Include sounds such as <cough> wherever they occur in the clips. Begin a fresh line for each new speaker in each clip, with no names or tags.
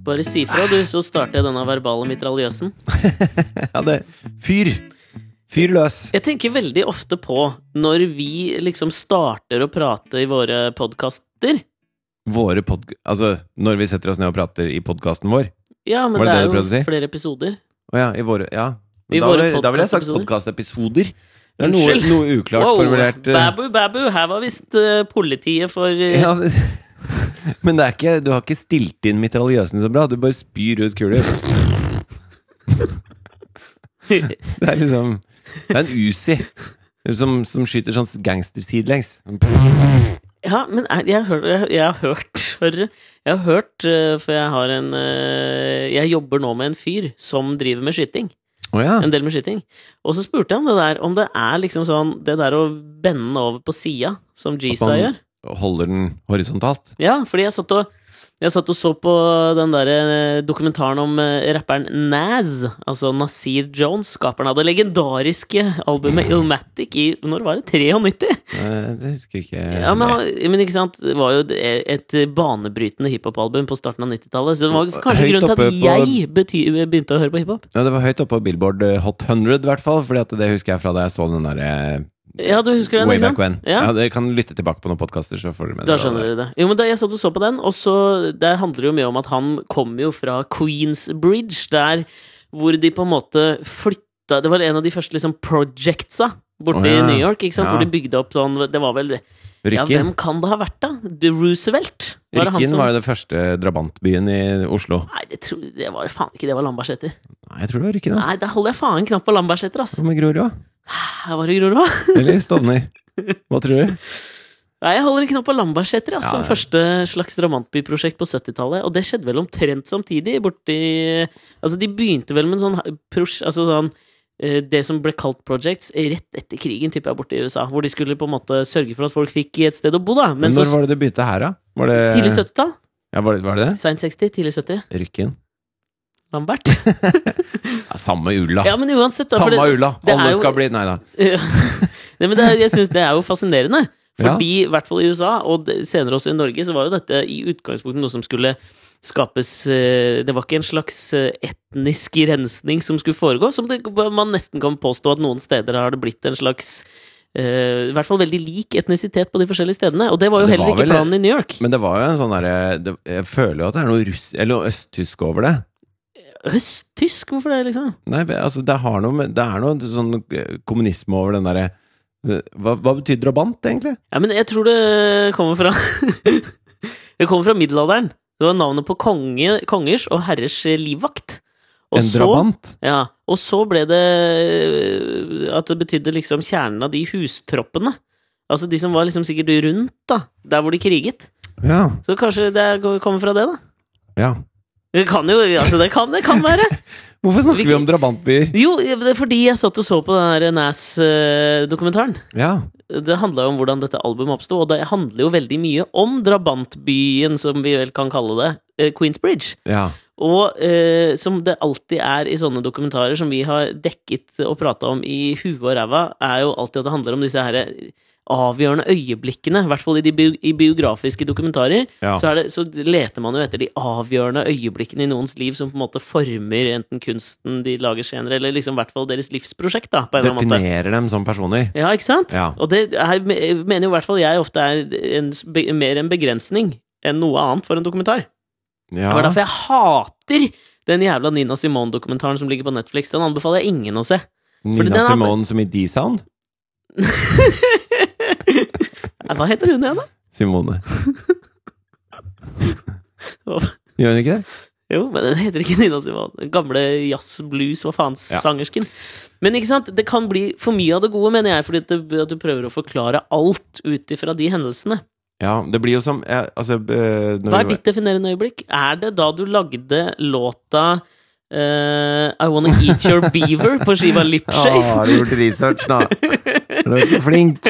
Bare si fra, du, så starter jeg denne verbale mitraljøsen.
Ja, det Fyr! Fyr løs!
Jeg tenker veldig ofte på, når vi liksom starter å prate i våre podkaster
Våre pod... Altså, når vi setter oss ned og prater i podkasten vår.
Ja, men
Var
det,
det det
er
du
jo
prøvde å si?
flere episoder.
Å ja, i våre Ja.
I
da,
våre
vil- da ville jeg sagt podkastepisoder. Det er noe,
Unnskyld.
noe uklart formulert eh,
Babu, babu, her var visst eh, politiet for eh,
<laughs> ja, Men det er ikke, du har ikke stilt inn mitraljøsen så bra. Du bare spyr ut kuler. Det er liksom Det er en Uzi som, som skyter sånn gangstersidelengs.
<laughs> Ja, men er- jeg har hørt, jeg, jeg har hørt, hører, jeg har hørt eh, For jeg har en eh, Jeg jobber nå med en fyr som driver med skyting.
Å ja.
En del med skyting. Og så spurte jeg om det der om det er liksom sånn Det der å bende over på sida, som Jisa
man-
gjør.
Holder den horisontalt.
Ja, fordi jeg satt og jeg satt og så på den der eh, dokumentaren om eh, rapperen Naz, altså Nasir Jones, skaperen av det legendariske
<laughs>
albumet Illmatic i Når var det? 93?
Eh, Det husker jeg ikke.
Ja, men, han- men ikke sant, det var jo et banebrytende hiphop-album på starten av 90-tallet, så det var kanskje
Høyt
grunnen til
oppe
at
på-
jeg bety begynte å høre på hiphop.
Ja, det var høyt oppe på Billboard eh, Hot 100, i hvert fall. Fordi at det husker jeg fra da jeg så den derre
Ja, du husker den?
Way
ikke sant?
Back When.
Ja.
Ja. dere kan lytte tilbake på noen podkaster, så får dere med
Da
dere
skjønner
det.
dere det. Jo, men da, Jeg satt og så på den, og så der handler det jo mye om at han kommer jo fra Queensbridge, der hvor de på en måte flytta Det var en av de første liksom projectsa borte
Å, ja.
i New York, ikke sant?
Ja.
hvor de bygde opp sånn Det var vel Ja,
Rykken.
hvem kan det ha vært, da? The Roosevelt? Var det han
Rykken
som-
var jo den første drabantbyen i Oslo.
Nei, det, tror, det var faen ikke det var Lambertseter.
Nei, jeg tror det var Rykken,
Nei,
ass.
der holder jeg faen knapp på Lambertseter, ass!
Hva med Grorud, da?
Her var det Grorud òg.
Eller Stovner? Hva tror du?
Nei, jeg holder en knapp på Lambertseter, ass,
Ja,
som
ja.
første slags drabantbyprosjekt på 70-tallet. Og det skjedde vel omtrent samtidig, borti Altså, de begynte vel med en sånn prosj... Altså sånn eh, det som ble kalt projects rett etter krigen, tipper jeg, borte i USA. Hvor de skulle på en måte sørge for at folk fikk et sted å bo, da. Men
Men
så
Når var det det begynte her, da? Var det
tidlig 70-tall.
Ja, var det, var det det?
Seint 60, tidlig 70.
Rykken? <laughs>
Lambert.
Ja, samme ulla.
Ja, men uansett, da. for
samme
det-
ulla!
det er
Alle
jo-
skal bli Nei da.
<laughs> Nei, men det, er- jeg syns det er jo fascinerende.
Ja.
Fordi, i hvert fall i USA, og det- senere også i Norge, så var jo dette i utgangspunktet noe som skulle skapes eh, Det var ikke en slags eh, etnisk rensning som skulle foregå, som det, man nesten kan påstå at noen steder har det blitt en slags eh, I hvert fall veldig lik etnisitet på de forskjellige stedene. Og det var jo
Det
heller
var
ikke
vel-
planen i New York.
Men det var jo en sånn derre det- Jeg føler jo at det er noe russ... Eller noe østtysk over det.
Østtysk, hvorfor det, liksom?
Nei, men altså, det har noe med Det er noe sånn eh, kommunisme over den derre eh, hva, hva betyr drabant, egentlig?
Ja, men jeg tror det kommer fra <laughs> Det kommer fra middelalderen. Det var navnet på konge, kongers og herrers livvakt. Og
en
så,
drabant?
Ja, og så ble det øh, at det betydde liksom kjernen av de hustroppene. Altså de som var liksom sikkert rundt, da. Der hvor de kriget.
Ja.
Så kanskje det er- kommer fra det, da.
ja.
Det kan jo altså det kan, det kan være.
Hvorfor snakker vi
Hvilke-
om drabantbyer?
Jo, det er fordi jeg satt og så på den der øh, NAS-dokumentaren.
Ja.
Det handla jo om hvordan dette albumet oppsto, og det handler jo veldig mye om drabantbyen, som vi vel kan kalle det, eh, Queensbridge.
ja.
Og eh, som det alltid er i sånne dokumentarer som vi har dekket og prata om i huet og ræva, er jo alltid at det handler om disse her eh, avgjørende øyeblikkene. I hvert fall i, de bio, i biografiske dokumentarer.
Ja.
Så, er det, så leter man jo etter de avgjørende øyeblikkene i noens liv som på en måte former enten kunsten de lager senere, eller liksom i hvert fall deres livsprosjekt, da, på en eller annen måte.
Definerer dem som personer.
Ja, ikke sant?
Ja.
Og det er, mener jo i hvert fall jeg ofte er en, be- mer en begrensning enn noe annet for en dokumentar.
ja.
Det var derfor jeg hater den jævla Nina Simone-dokumentaren som ligger på Netflix. Den anbefaler jeg ingen å se. <laughs> fordi
Nina
den har-
Simone som i D-Sound?
Nei, Hva heter hun igjen, da?
Simone.
Hva-
Gjør hun ikke det?
Jo, men den heter ikke Nina Simone. Den gamle jazz-blues, hva faen,
Ja.
sangersken. Men ikke sant, det kan bli for mye av det gode, mener jeg, fordi at du, at du prøver å forklare alt ut ifra de hendelsene.
Ja, det blir jo som ja, altså, eh, når
Hva er
vi-
ditt definerende øyeblikk? Er det da du lagde låta eh, I Wanna Eat Your Beaver på skiva
Ja,
Lipshape?
har du gjort research, da? Er Du er så
<laughs>
flink!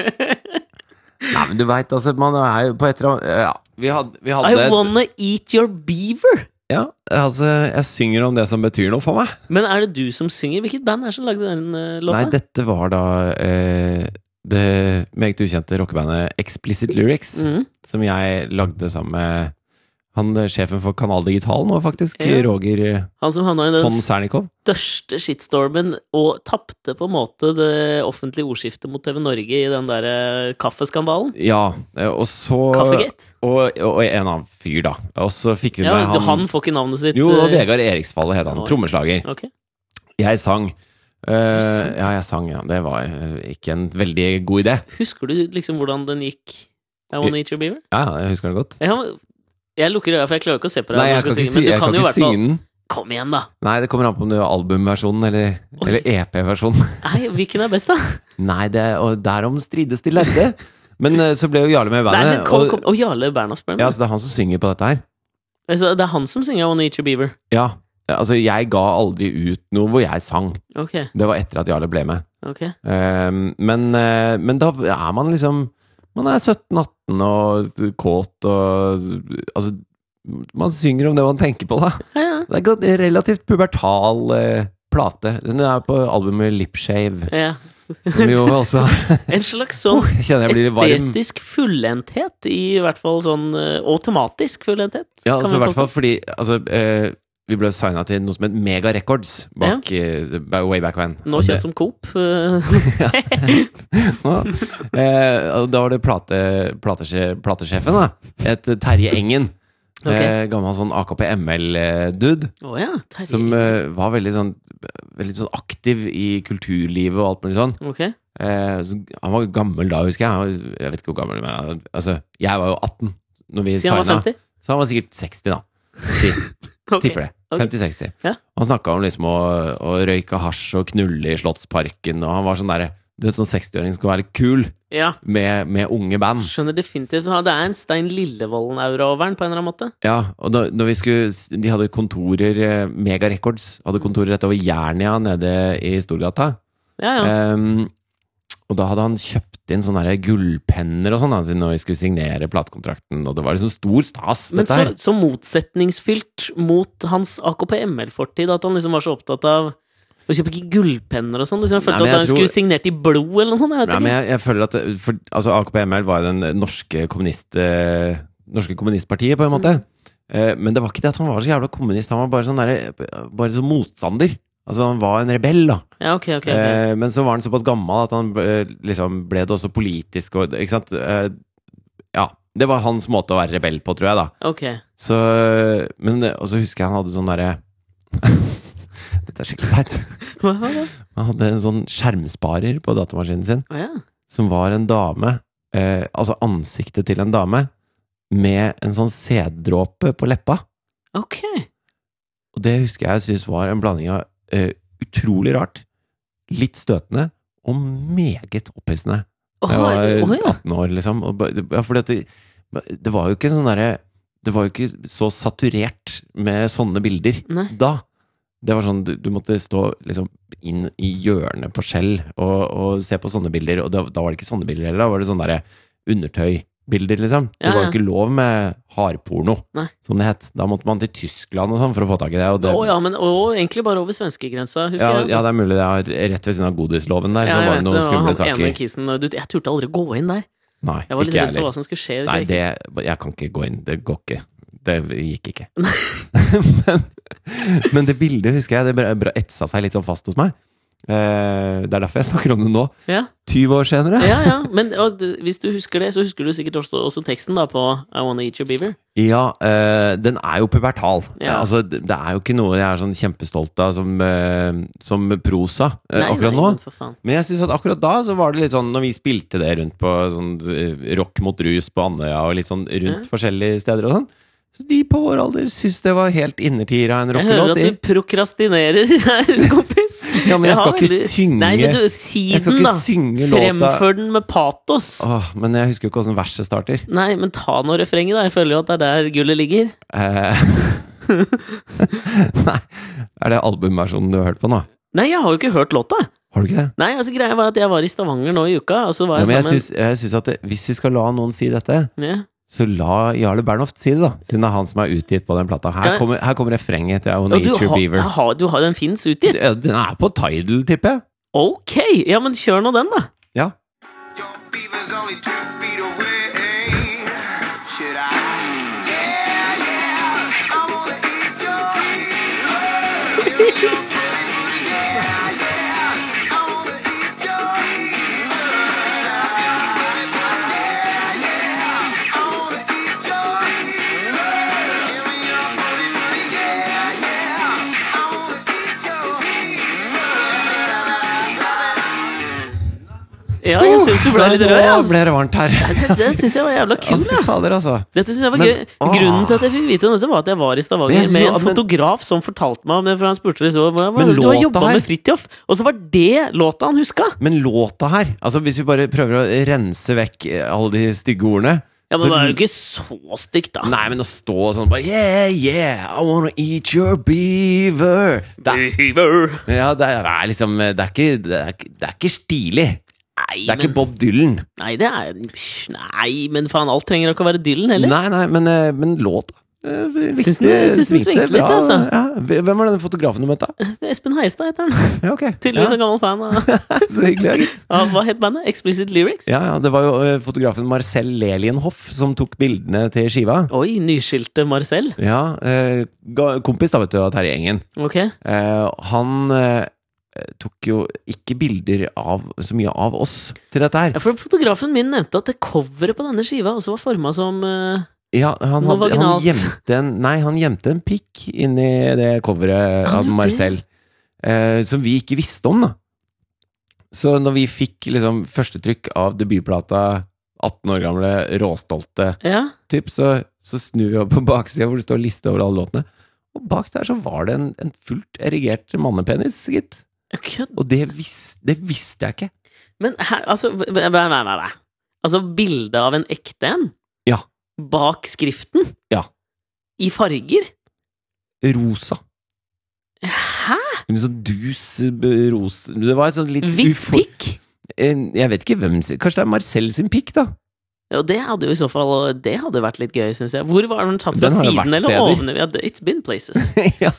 Nei, men du veit, altså, man er jo på et eller annet Ja, vi hadde, vi hadde
I
et-
Wanna Eat Your Beaver?
Ja, altså, jeg synger om det som betyr noe for meg.
Men er det du som synger? Hvilket band er det som lagde den eh, låta?
Nei, dette var da eh, det meget ukjente rockebandet Explicit Lyrics,
Mhm.
som jeg lagde sammen med Han eh, sjefen for Kanal Digital nå, faktisk.
Ja.
Roger eh,
Han som havna i den
von Sernikov.
største shitstormen og tapte på en måte det offentlige ordskiftet mot TV Norge i den der eh, kaffeskandalen.
Ja, eh, og så
Kaffegate.
og, og en annen fyr, da. Og så fikk vi
Ja,
med
han, han får ikke navnet sitt.
Jo, det var
eh,
Vegard Eriksfalle het han.
Oi.
Trommeslager.
ok.
Jeg sang. Eh, ja, jeg sang, ja. Det var eh, ikke en veldig god idé.
Husker du liksom hvordan den gikk? I Wanna Eat Your Beaver?
Ja, ja, jeg husker den godt.
Jeg, har- jeg lukker øya, for jeg klarer ikke å se på deg.
Nei,
når
jeg
du
kan
skal synge,
ikke, sy
men du
jeg kan
jo i
ikke
hvert fall-
synge den.
Kom igjen, da!
Nei, det kommer an på om det er albumversjonen eller,
Oi.
eller E EP-versjonen.
Nei, hvilken er best, da?
<laughs> Nei, det, og derom strides de lærde. Men eh, så ble jo Jarle med i
Nei,
bandet.
men kom, kom.
og,
Og Jarle Bernhoft, spør du meg.
ja, så det er han som synger på dette her.
Altså, det er han som synger I Wanna Eat Your Beaver.
Ja, altså jeg ga aldri ut noe hvor jeg sang.
Ok,
Det var etter at Jarle ble med.
ok.
Ehm, men, eh, men da er man liksom Man er 17-18 og kåt og Altså, man synger om det man tenker på, da.
Ja, ja.
Det er ikke en relativt pubertal eh, plate. Den er på albumet Lipshave,
ja.
som jo også
En slags sånn
Kjenner <laughs> jeg blir varm.
estetisk fullendthet, i hvert fall sånn eh, Og tematisk fullendthet.
Ja,
kan
altså,
vi
i hvert
påstå.
fall fordi altså, eh, vi ble signa til noe som het Mega Records bak, eh, way back when. <laughs>
Nå
Og det-
kjent som Coop. eh, <laughs>
Ja. Eh, og da var det plate, platesje, platesjefen, da. Et Terje Engen.
<laughs> Ok.
Eh, gammel sånn AKP-ML-dude.
Å ja. Terje.
Som eh, var veldig sånn, veldig sånn aktiv i kulturlivet og alt mulig sånn.
Ok.
Eh, så han var gammel da, husker jeg. Han var, jeg vet ikke hvor gammel, men han- altså, jeg var jo 18 når vi
Siden han var
signa.
50?
Så han var sikkert 60, da. Si,
Ok.
Tipper det.
Ok.
50-60.
Ja.
Han snakka om liksom å, å røyke hasj og knulle i Slottsparken, og han var sånn derre Du vet, sånn 60-åring som skal være litt kul
Ja.
med, med unge band.
Skjønner definitivt. Ja, Det er en Stein Lillevolden-aura over den, på en eller annen måte.
Ja, og da når vi skulle, s- De hadde kontorer eh, Mega Records hadde kontorer rett over Jernia nede i Storgata.
Ja, ja.
Ehm, og da hadde han kjøpt inn sånne her gullpenner og sånn da, til når vi skulle signere platekontrakten. Og det var liksom stor stas,
Men
dette
så,
her.
så motsetningsfylt mot hans AKP-ML-fortid, at han liksom var så opptatt av å kjøpe ikke gullpenner og sånn. Liksom, jeg
Nei,
følte
men
at
jeg
han
tror-
skulle signert i blod eller noe sånt. Jeg vet
Nei, men
ikke.
jeg, jeg føler at det, for, altså, AKP-ML var jo den norske, kommunist, eh, norske kommunistpartiet, på en måte. Eh, men det var ikke det at han var så jævla kommunist. Han var bare sånn derre- bare sånn motstander. Altså, han var en rebell, da.
Ja, ok, ok. ok.
Eh, men så var han såpass gammel at han eh, liksom ble det også politisk og Ikke sant? Eh, ja. Det var hans måte å være rebell på, tror jeg, da.
Ok.
Så, men, eh, og så husker jeg han hadde sånn derre <laughs> Dette er skikkelig teit.
Hva var det?
Han hadde en sånn skjermsparer på datamaskinen sin,
Å ja.
som var en dame eh, Altså ansiktet til en dame med en sånn sæddråpe på leppa.
Ok.
Og det husker jeg synes var en blanding av eh, utrolig rart, litt støtende og meget opphissende.
Å
Da jeg
å
var
ja.
18 år, liksom. Og, ba- ja, fordi at det, det var jo ikke sånn derre Det var jo ikke så saturert med sånne bilder
Nei.
da. Det var sånn, du, du måtte stå liksom inn i hjørnet på skjell og, og se på sånne bilder, og da, da var det ikke sånne bilder heller, da var det sånne derre undertøybilder, liksom. Det
Ja,
var
ja.
jo ikke lov med hardporno,
Nei.
som det het. Da måtte man til Tyskland og sånn for å få tak i det. Og det
Å ja, men og, egentlig bare over svenskegrensa, husker
ja,
jeg. altså.
ja, det er mulig det er rett ved siden av godisloven der,
Ja,
så
jeg
var det
vet det,
noen
og
skumle
han ene
saker.
kissen, og du, jeg turte aldri gå inn der.
Nei,
Jeg var
ikke
litt
jeg
redd
heller.
for hva som skulle skje. hvis
Nei,
jeg
det, jeg kan ikke gå inn. Det går ikke. Det gikk ikke. <laughs> men, men det bildet husker jeg, det bare- bare etsa seg litt sånn fast hos meg. Eh, det er derfor jeg snakker om det nå,
ikke- Ja.
20 år senere.
Ja, ja, men og, d- hvis du husker det, så husker du sikkert også, også teksten da på I Wanna Eat Your Beaver.
Ja, eh, den er jo pubertal.
Ja.
Altså, det det er jo ikke noe jeg er sånn kjempestolt av som, eh, som prosa eh,
Nei,
akkurat
nei,
nå.
men for faen.
Men jeg synes at akkurat da så var det litt sånn Når vi spilte det rundt på sånn eh, Rock mot rus på Andøya og litt sånn rundt forskjellige steder og sånn Så de på vår alder synes det var helt innertier av en
Jeg hører
rockelåt
at
de.
du prokrastinerer her, kompis.
Ja, men jeg
har
skal ikke synge-
Nei, men du, si
Jeg skal
den, da.
ikke synge låta
Fremfør den med patos.
Åh, men jeg husker jo ikke hvordan verset starter
Nei, men ta nå refrenget, da. Jeg føler jo at det er der gullet ligger.
eh. <laughs> Nei, er det albumversjonen du har hørt på nå?
Nei, jeg har jo ikke hørt låta.
Har du ikke det?
Nei, altså greia var at jeg var i Stavanger nå i uka, og så var
Ja,
jeg
men jeg
sammen
synes, jeg synes at det, hvis vi skal la noen si dette
ja.
så la Jarle Bernhoft si det da Siden det er han som er utgitt på den plata Her
Ja.
kommer, her kommer refrenget til I Wanna
Og du
Eat Your
har, Ah.
Beaver
jeg har, du har Den fins utgitt?
Ja, Den er på Tidal, tipper jeg.
Ok! Ja, men kjør nå den, da.
Ja.
Your beaver's only two feet away. Should I? Yeah, yeah.
Ja, jeg syns du ble litt rød.
Nå
Altså.
ble det varmt her. <laughs>
Det, det syns jeg var jævla
Å,
kul.
fy
Altså.
fader, altså.
Dette synes jeg var
Men-
gøy. Grunnen til at jeg fikk vite om dette, var at jeg var i
Men jeg
Stavanger
synes
med
jo
en
at- men-
fotograf som fortalte meg om det, for han spurte liksom, hvordan
Men
var det du har
låta
jobba
her-
med Fridtjof, og så var det låta han huska!
Men låta her altså Hvis vi bare prøver å rense vekk eh, alle de stygge ordene
Ja, Men
så-
det er jo ikke så stygt, da.
Nei, men å stå sånn bare Yeah, yeah, I wanna eat your beaver Det, er-
Beaver.
ja, det er liksom Det er ikke, det er, ikke- det er ikke stilig
Nei,
Det er
men,
ikke Bob Dylan
nei, det er, psh, nei, men faen, alt trenger ikke å være Dylan heller.
Nei, nei, men, eh, men låta eh, likte-
Syns den- syns den svingte litt, altså.
ja. Hvem var denne fotografen du møtte? da?
Espen Heiestad heter
<laughs>
han.
Ja, ok
<laughs> Tydeligvis
ja,
en gammel fan av
Så hyggelig ja, gitt.
av- Hva het bandet? Explicit Lyrics?
ja, ja, det var jo eh, fotografen Marcel Lelienhoff Som tok bildene til skiva
Oi, nyskilte Marcel.
Ja, eh, ga- kompis da vet du av Terje Engen
Ok.
Eh, han eh, tok jo ikke bilder av så mye av oss til dette
Ja,
her.
for Fotografen min nevnte at det coveret på denne skiva også var forma som eh,
Ja, han,
Noe
hadde, han,
vaginalt.
gjemte en, nei, han gjemte en pikk inni det coveret
Han
av
gjorde
Marcel, eh, som vi ikke visste om, da. Så når vi fikk liksom førstetrykk av debutplata 18 år gamle, råstolte
Ja.
typ, så, så snur vi opp på baksida hvor det står liste over alle låtene. Og bak der så var det en, en fullt erigert mannepenis, gitt.
Kødd.
Og det, vis, det visste jeg ikke.
Men her, altså v- v- Nei, nei, nei. Altså, bildet av en ekte en?
Ja.
Bak skriften?
Ja.
I farger?
rosa.
Hæ?
En sånn dus eh, b- ros Det var et sånt litt
Viss
ufor-
pikk?
En- Eh, Jeg vet ikke hvem sin Kanskje det er Marcel sin pikk, da? <laughs>
Ja, det hadde jo i så fall Det hadde vært litt gøy, syns jeg. Hvor var den tatt fra
Den har jo
siden
vært
eller
steder.
ovenifra? Ja, it's been
<laughs>
places.
ja.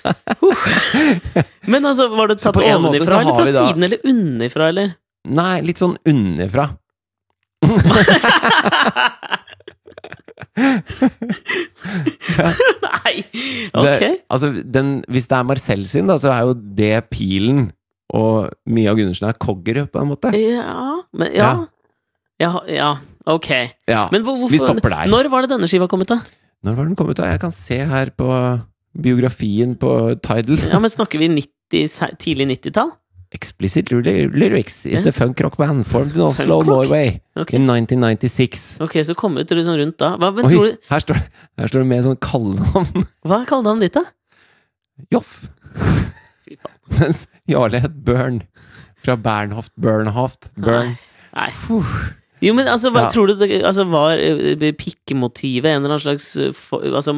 Men altså, var det
Så
tatt
på en måte så
ovenifra eller
har
fra
vi da-
siden eller underifra, eller? <laughs>
Nei, litt sånn underfra.
Nei! Ok.
Det, altså, den, hvis det er Marcel sin, da, så er jo det pilen. Og Mia Gundersen er Coggerud, på en måte.
Ja Men ja. Ja, ja. ok.
Ja.
Men hvor, hvorfor
Vi stopper der.
Når var det denne skiva kommet, da?
Når var den kommet ut? da? Jeg kan se her på biografien på Tidal.
Ja, men Snakker vi 90, se- tidlig 90-tall?
Explicit lyrics is a funk rock band formed in Oslo,
Funk rock?
Norway
Ok.
in 1996.
Ok, så kom ut liksom rundt da. Hva, men
Oi,
tror du,
her, står, her står det med sånn kallenavn.
hva kalte han ditt, da?
Joff. <laughs> Mens Jarle het Børn. Fra Bernhoft, Bernhoft, Bern.
Nei. Jo, men altså, hva
Ja.
tror du det altså, var eh, pikkemotivet en eller annen slags eh, for, altså,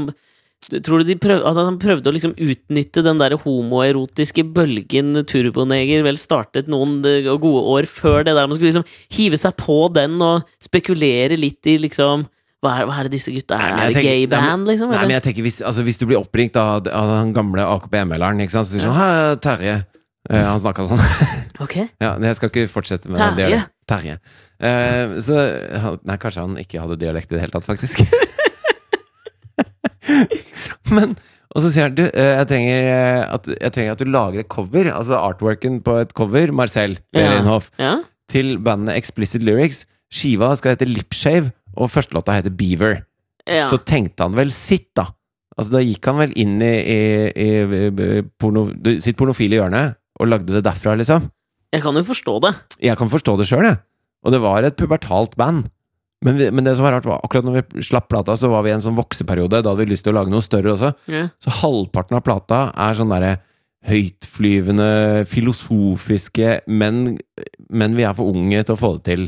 Tror du de prøv, at han prøvde å liksom utnytte den der homoerotiske bølgen Turboneger vel startet noen eh, gode år før det der man skulle liksom hive seg på den og spekulere litt i liksom Hva er, hva er det disse gutta er?
Nei, men
Er
jeg
det gay
tenker- nei,
band, liksom?
Nei,
eller?
men jeg tenker hvis, altså, hvis du blir oppringt av, av den gamle AKP-melderen, ikke sant, så sier du sånn Hei, Terje. Eh, han snakka sånn.
Ok.
Ja, men jeg skal ikke fortsette med
Terje.
dialekt. Terje. Eh, så han- Nei, kanskje han ikke hadde dialekt i det hele tatt, faktisk. <laughs> men Og så sier han du, eh, jeg trenger, eh, at, jeg trenger at du lager et cover, altså artworken på et cover, Marcel
Ja.
Lerienhoff,
Ja?
til bandet Explicit Lyrics. Skiva skal hete Lipshave, og førstelåta heter Beaver.
ja.
Så tenkte han vel sitt, da. Altså, da gikk han vel inn i, i, i, i porno, sitt pornofile hjørne og lagde det derfra, liksom.
Jeg kan jo forstå det.
Jeg kan forstå det sjøl, jeg. Og det var et pubertalt band. Men, vi, men det som var rart var akkurat når vi slapp plata, så var vi i en sånn vokseperiode. Da hadde vi lyst til å lage noe større også.
Ja.
Så halvparten av plata er sånn derre høytflyvende, filosofiske men, men vi er for unge til å få det til.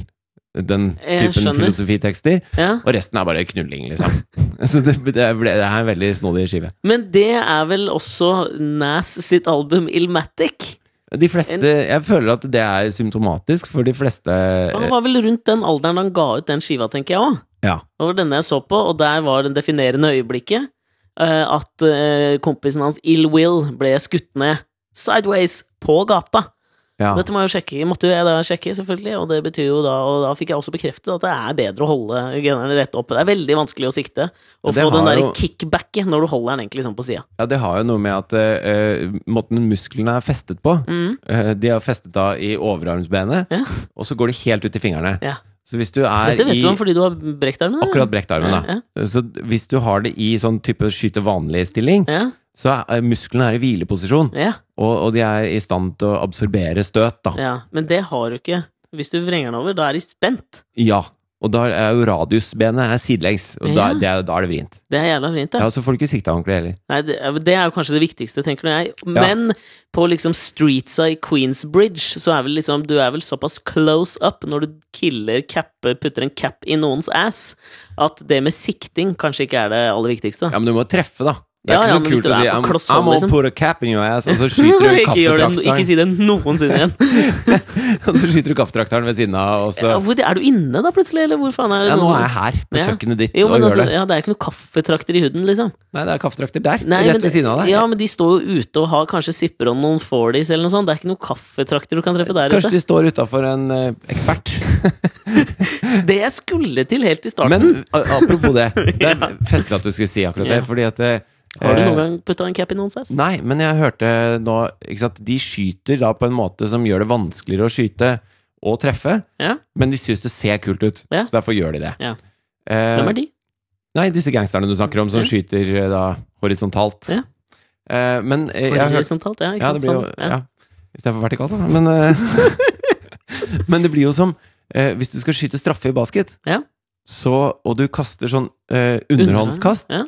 Den
Jeg
typen
skjønner.
filosofitekster.
Ja.
Og resten er bare knulling,
<laughs>
liksom. så det, det, ble, det er en veldig snodig skive.
Men det er vel også Nas sitt album Ilmatic?
De fleste, jeg føler at det er symptomatisk for de fleste
Han var vel rundt den alderen han ga ut den skiva, tenker jeg òg.
Ja.
Det var denne jeg så på, og der var det definerende øyeblikket eh, at eh, kompisen hans Ill Will ble skutt ned sideways på gata.
Ja.
Dette må jeg jo sjekke, måtte jo jeg da sjekke, selvfølgelig, og det betyr jo da Og da fikk jeg også bekreftet at det er bedre å holde gunneren rett oppe. Det er veldig vanskelig å sikte, og
Men det
få den
har
der
jo-
kickbacket når du holder den egentlig sånn på sida.
ja, det har jo noe med at eh, måten musklene er festet på
Mm.
eh, De er festet da i overarmsbenet,
Ja.
og så går de helt ut i fingrene.
Ja.
Så hvis du er
Dette vet
i
du om fordi du har brekt armen? eller?
akkurat brekt armen, da.
Ja,
Så hvis du har det i sånn type skyte vanlig-stilling,
ja,
så er eh, musklene er i hvileposisjon,
ja,
og, og de er i stand til å absorbere støt, da.
ja. Men det har du ikke. Hvis du vrenger den over, da er de spent.
Ja. Og da er jo radiusbenet er sidelengs, og da,
Ja.
det er, da er det vrient.
Det er jævla vrient, det.
Ja, Så får du ikke sikta ordentlig heller.
Nei, det, er- det er jo kanskje det viktigste, tenker nå jeg. Men på liksom streetsa i Queensbridge, så er vel liksom Du er vel såpass close up når du killer, capper, putter en cap i noens ass, at det med sikting kanskje ikke er det aller viktigste. <laughs>
Ja, men du må treffe, da. Det
Ja,
er
ja,
ikke
men
så
hvis
kult
du
å
er
si
på
I'm,
kloss hold,
I'm all
liksom."
put a cap in your ass,
<laughs>
og så skyter du
ikke, gjør det, ikke
kaffetrakteren.
si det noensinne
<laughs>
igjen.
Og så skyter du kaffetrakteren ved siden av, og så
Ja, hvor, er du inne da, plutselig, eller hvor faen er det
Ja, nå
noen som-
er jeg her, på
Ja.
kjøkkenet ditt,
jo,
og
men
gjør
altså,
det.
ja, det er ikke noe kaffetrakter i huden, liksom.
Nei, det er kaffetrakter der,
Nei, men
rett ved
det-
siden av deg.
Ja, men de står jo ute og har kanskje sipper om noen fordies eller noe sånt. Det er ikke noe kaffetrakter du kan treffe der
Kanskje
ute.
de står utafor en eh, ekspert.
<laughs> Det jeg skulle til helt i starten.
Men a- apropos det,
<laughs>
det er festlig at du skulle si akkurat det,
Ja.
fordi at eh,
Har du noen gang putta en cap i noens ass?
Nei, men jeg hørte nå ikke sant? De skyter da på en måte som gjør det vanskeligere å skyte og treffe,
Ja.
men de syns det ser kult ut,
Ja.
så derfor gjør de det.
Ja.
Eh,
Hvem er de?
Nei, disse gangsterne du snakker om, som
Ja.
skyter eh, da horisontalt.
Ja.
Eh, men eh, jeg har hørt
Horisontalt? Ja, ikke
Ja, det
sant?
blir jo
Sånn,
ja. Istedenfor vertikalt, da. Men, eh, <laughs> men det blir jo som eh, hvis du skal skyte straffe i basket,
Ja.
så, og du kaster sånn eh, underhåndskast,
Ja.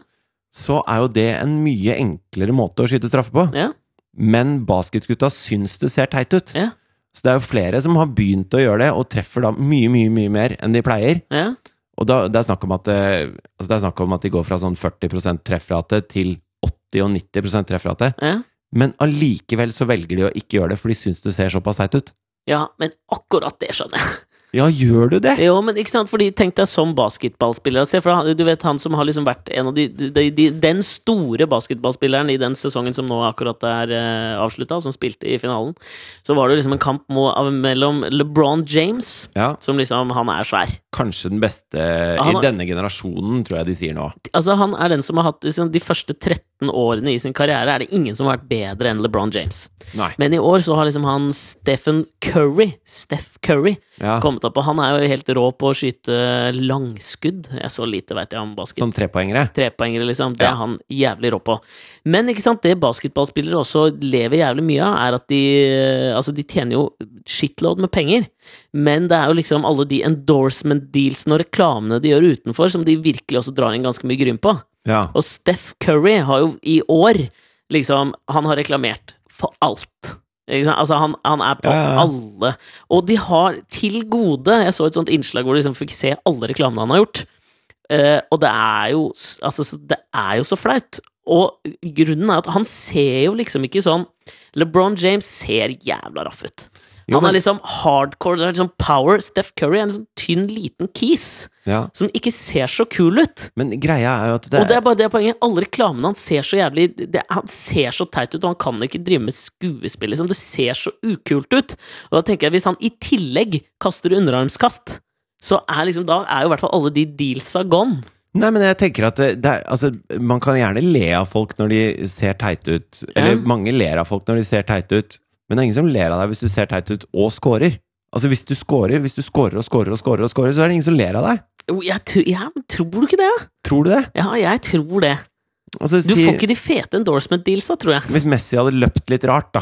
så er jo det en mye enklere måte å skyte straffe på.
Ja.
Men basketgutta syns det ser teit ut.
Ja.
Så det er jo flere som har begynt å gjøre det, og treffer da mye, mye mye mer enn de pleier.
Ja.
Og da, det, er snakk om at, eh, altså det er snakk om at de går fra sånn 40 treffrate til 80 og 90 treffrate.
Ja.
Men allikevel så velger de å ikke gjøre det, for de syns det ser såpass teit ut.
ja, men akkurat det skjønner jeg. <laughs>
Ja, gjør du det?
Jo, men ikke sant, fordi Tenk deg som basketballspiller. Se for deg, han- du vet han som har liksom vært en av de, de, de Den store basketballspilleren i den sesongen som nå akkurat er uh, avslutta, og som spilte i finalen. Så var det jo liksom en kamp må, av, mellom LeBron James,
Ja,
som liksom Han er svær.
Kanskje den beste i
han har-
denne generasjonen, tror jeg de sier nå.
Altså, han er den som har hatt liksom, De første 13 årene i sin karriere er det ingen som har vært bedre enn LeBron James.
Nei.
Men i år så har liksom han Stephen Curry Steph Curry
Ja,
kommet opp, og han er jo helt rå på å skyte langskudd. Jeg så lite veit jeg om basket.
sånn trepoengere.
Trepoengere, liksom. Det
Ja.
er han jævlig rå på. Men ikke sant, det basketballspillere også lever jævlig mye av, er at de eh, Altså, de tjener jo shitload med penger, men det er jo liksom alle de endorsement-dealsene og reklamene de gjør utenfor, som de virkelig også drar inn ganske mye gryn på.
Ja.
Og Steph Curry har jo i år liksom Han har reklamert for alt. Ikke sant? Altså, han, han er på
Ja, ja, ja.
alle. Og de har til gode Jeg så et sånt innslag hvor de liksom fikk se alle reklamene han har gjort. Eh, og det er jo s- Altså, så- det er jo så flaut. Og grunnen er at han ser jo liksom ikke sånn LeBron James ser jævla raff ut.
Jo,
han er
men-
liksom hardcore, så er det liksom power. Steph Curry er en sånn tynn, liten kis
ja.
som ikke ser så kul ut.
Men greia er jo at det
Og det er bare det poenget. Alle reklamene hans ser så jævlig det, Han ser så teit ut, og han kan ikke drive med skuespill, liksom. Det ser så ukult ut. Og da tenker jeg, hvis han i tillegg kaster underarmskast, så er liksom Da er jo i hvert fall alle de dealsa gone.
Nei, men jeg tenker at det, det er, altså, man kan gjerne le av folk når de ser teite ut. Eller
Ja.
mange ler av folk når de ser teite ut. Men det er ingen som ler av deg hvis du ser teit ut og scorer. Altså hvis du scorer, hvis du scorer og scorer og scorer, og scorer så er det ingen som ler av deg.
Jo, Jeg, tr- ja, men tror du ikke det, ja?
Tror du det?
Ja, jeg tror det.
Altså,
Du
si-
får ikke de fete endorsement-dealsa, tror jeg.
Hvis Messi hadde løpt litt rart, da.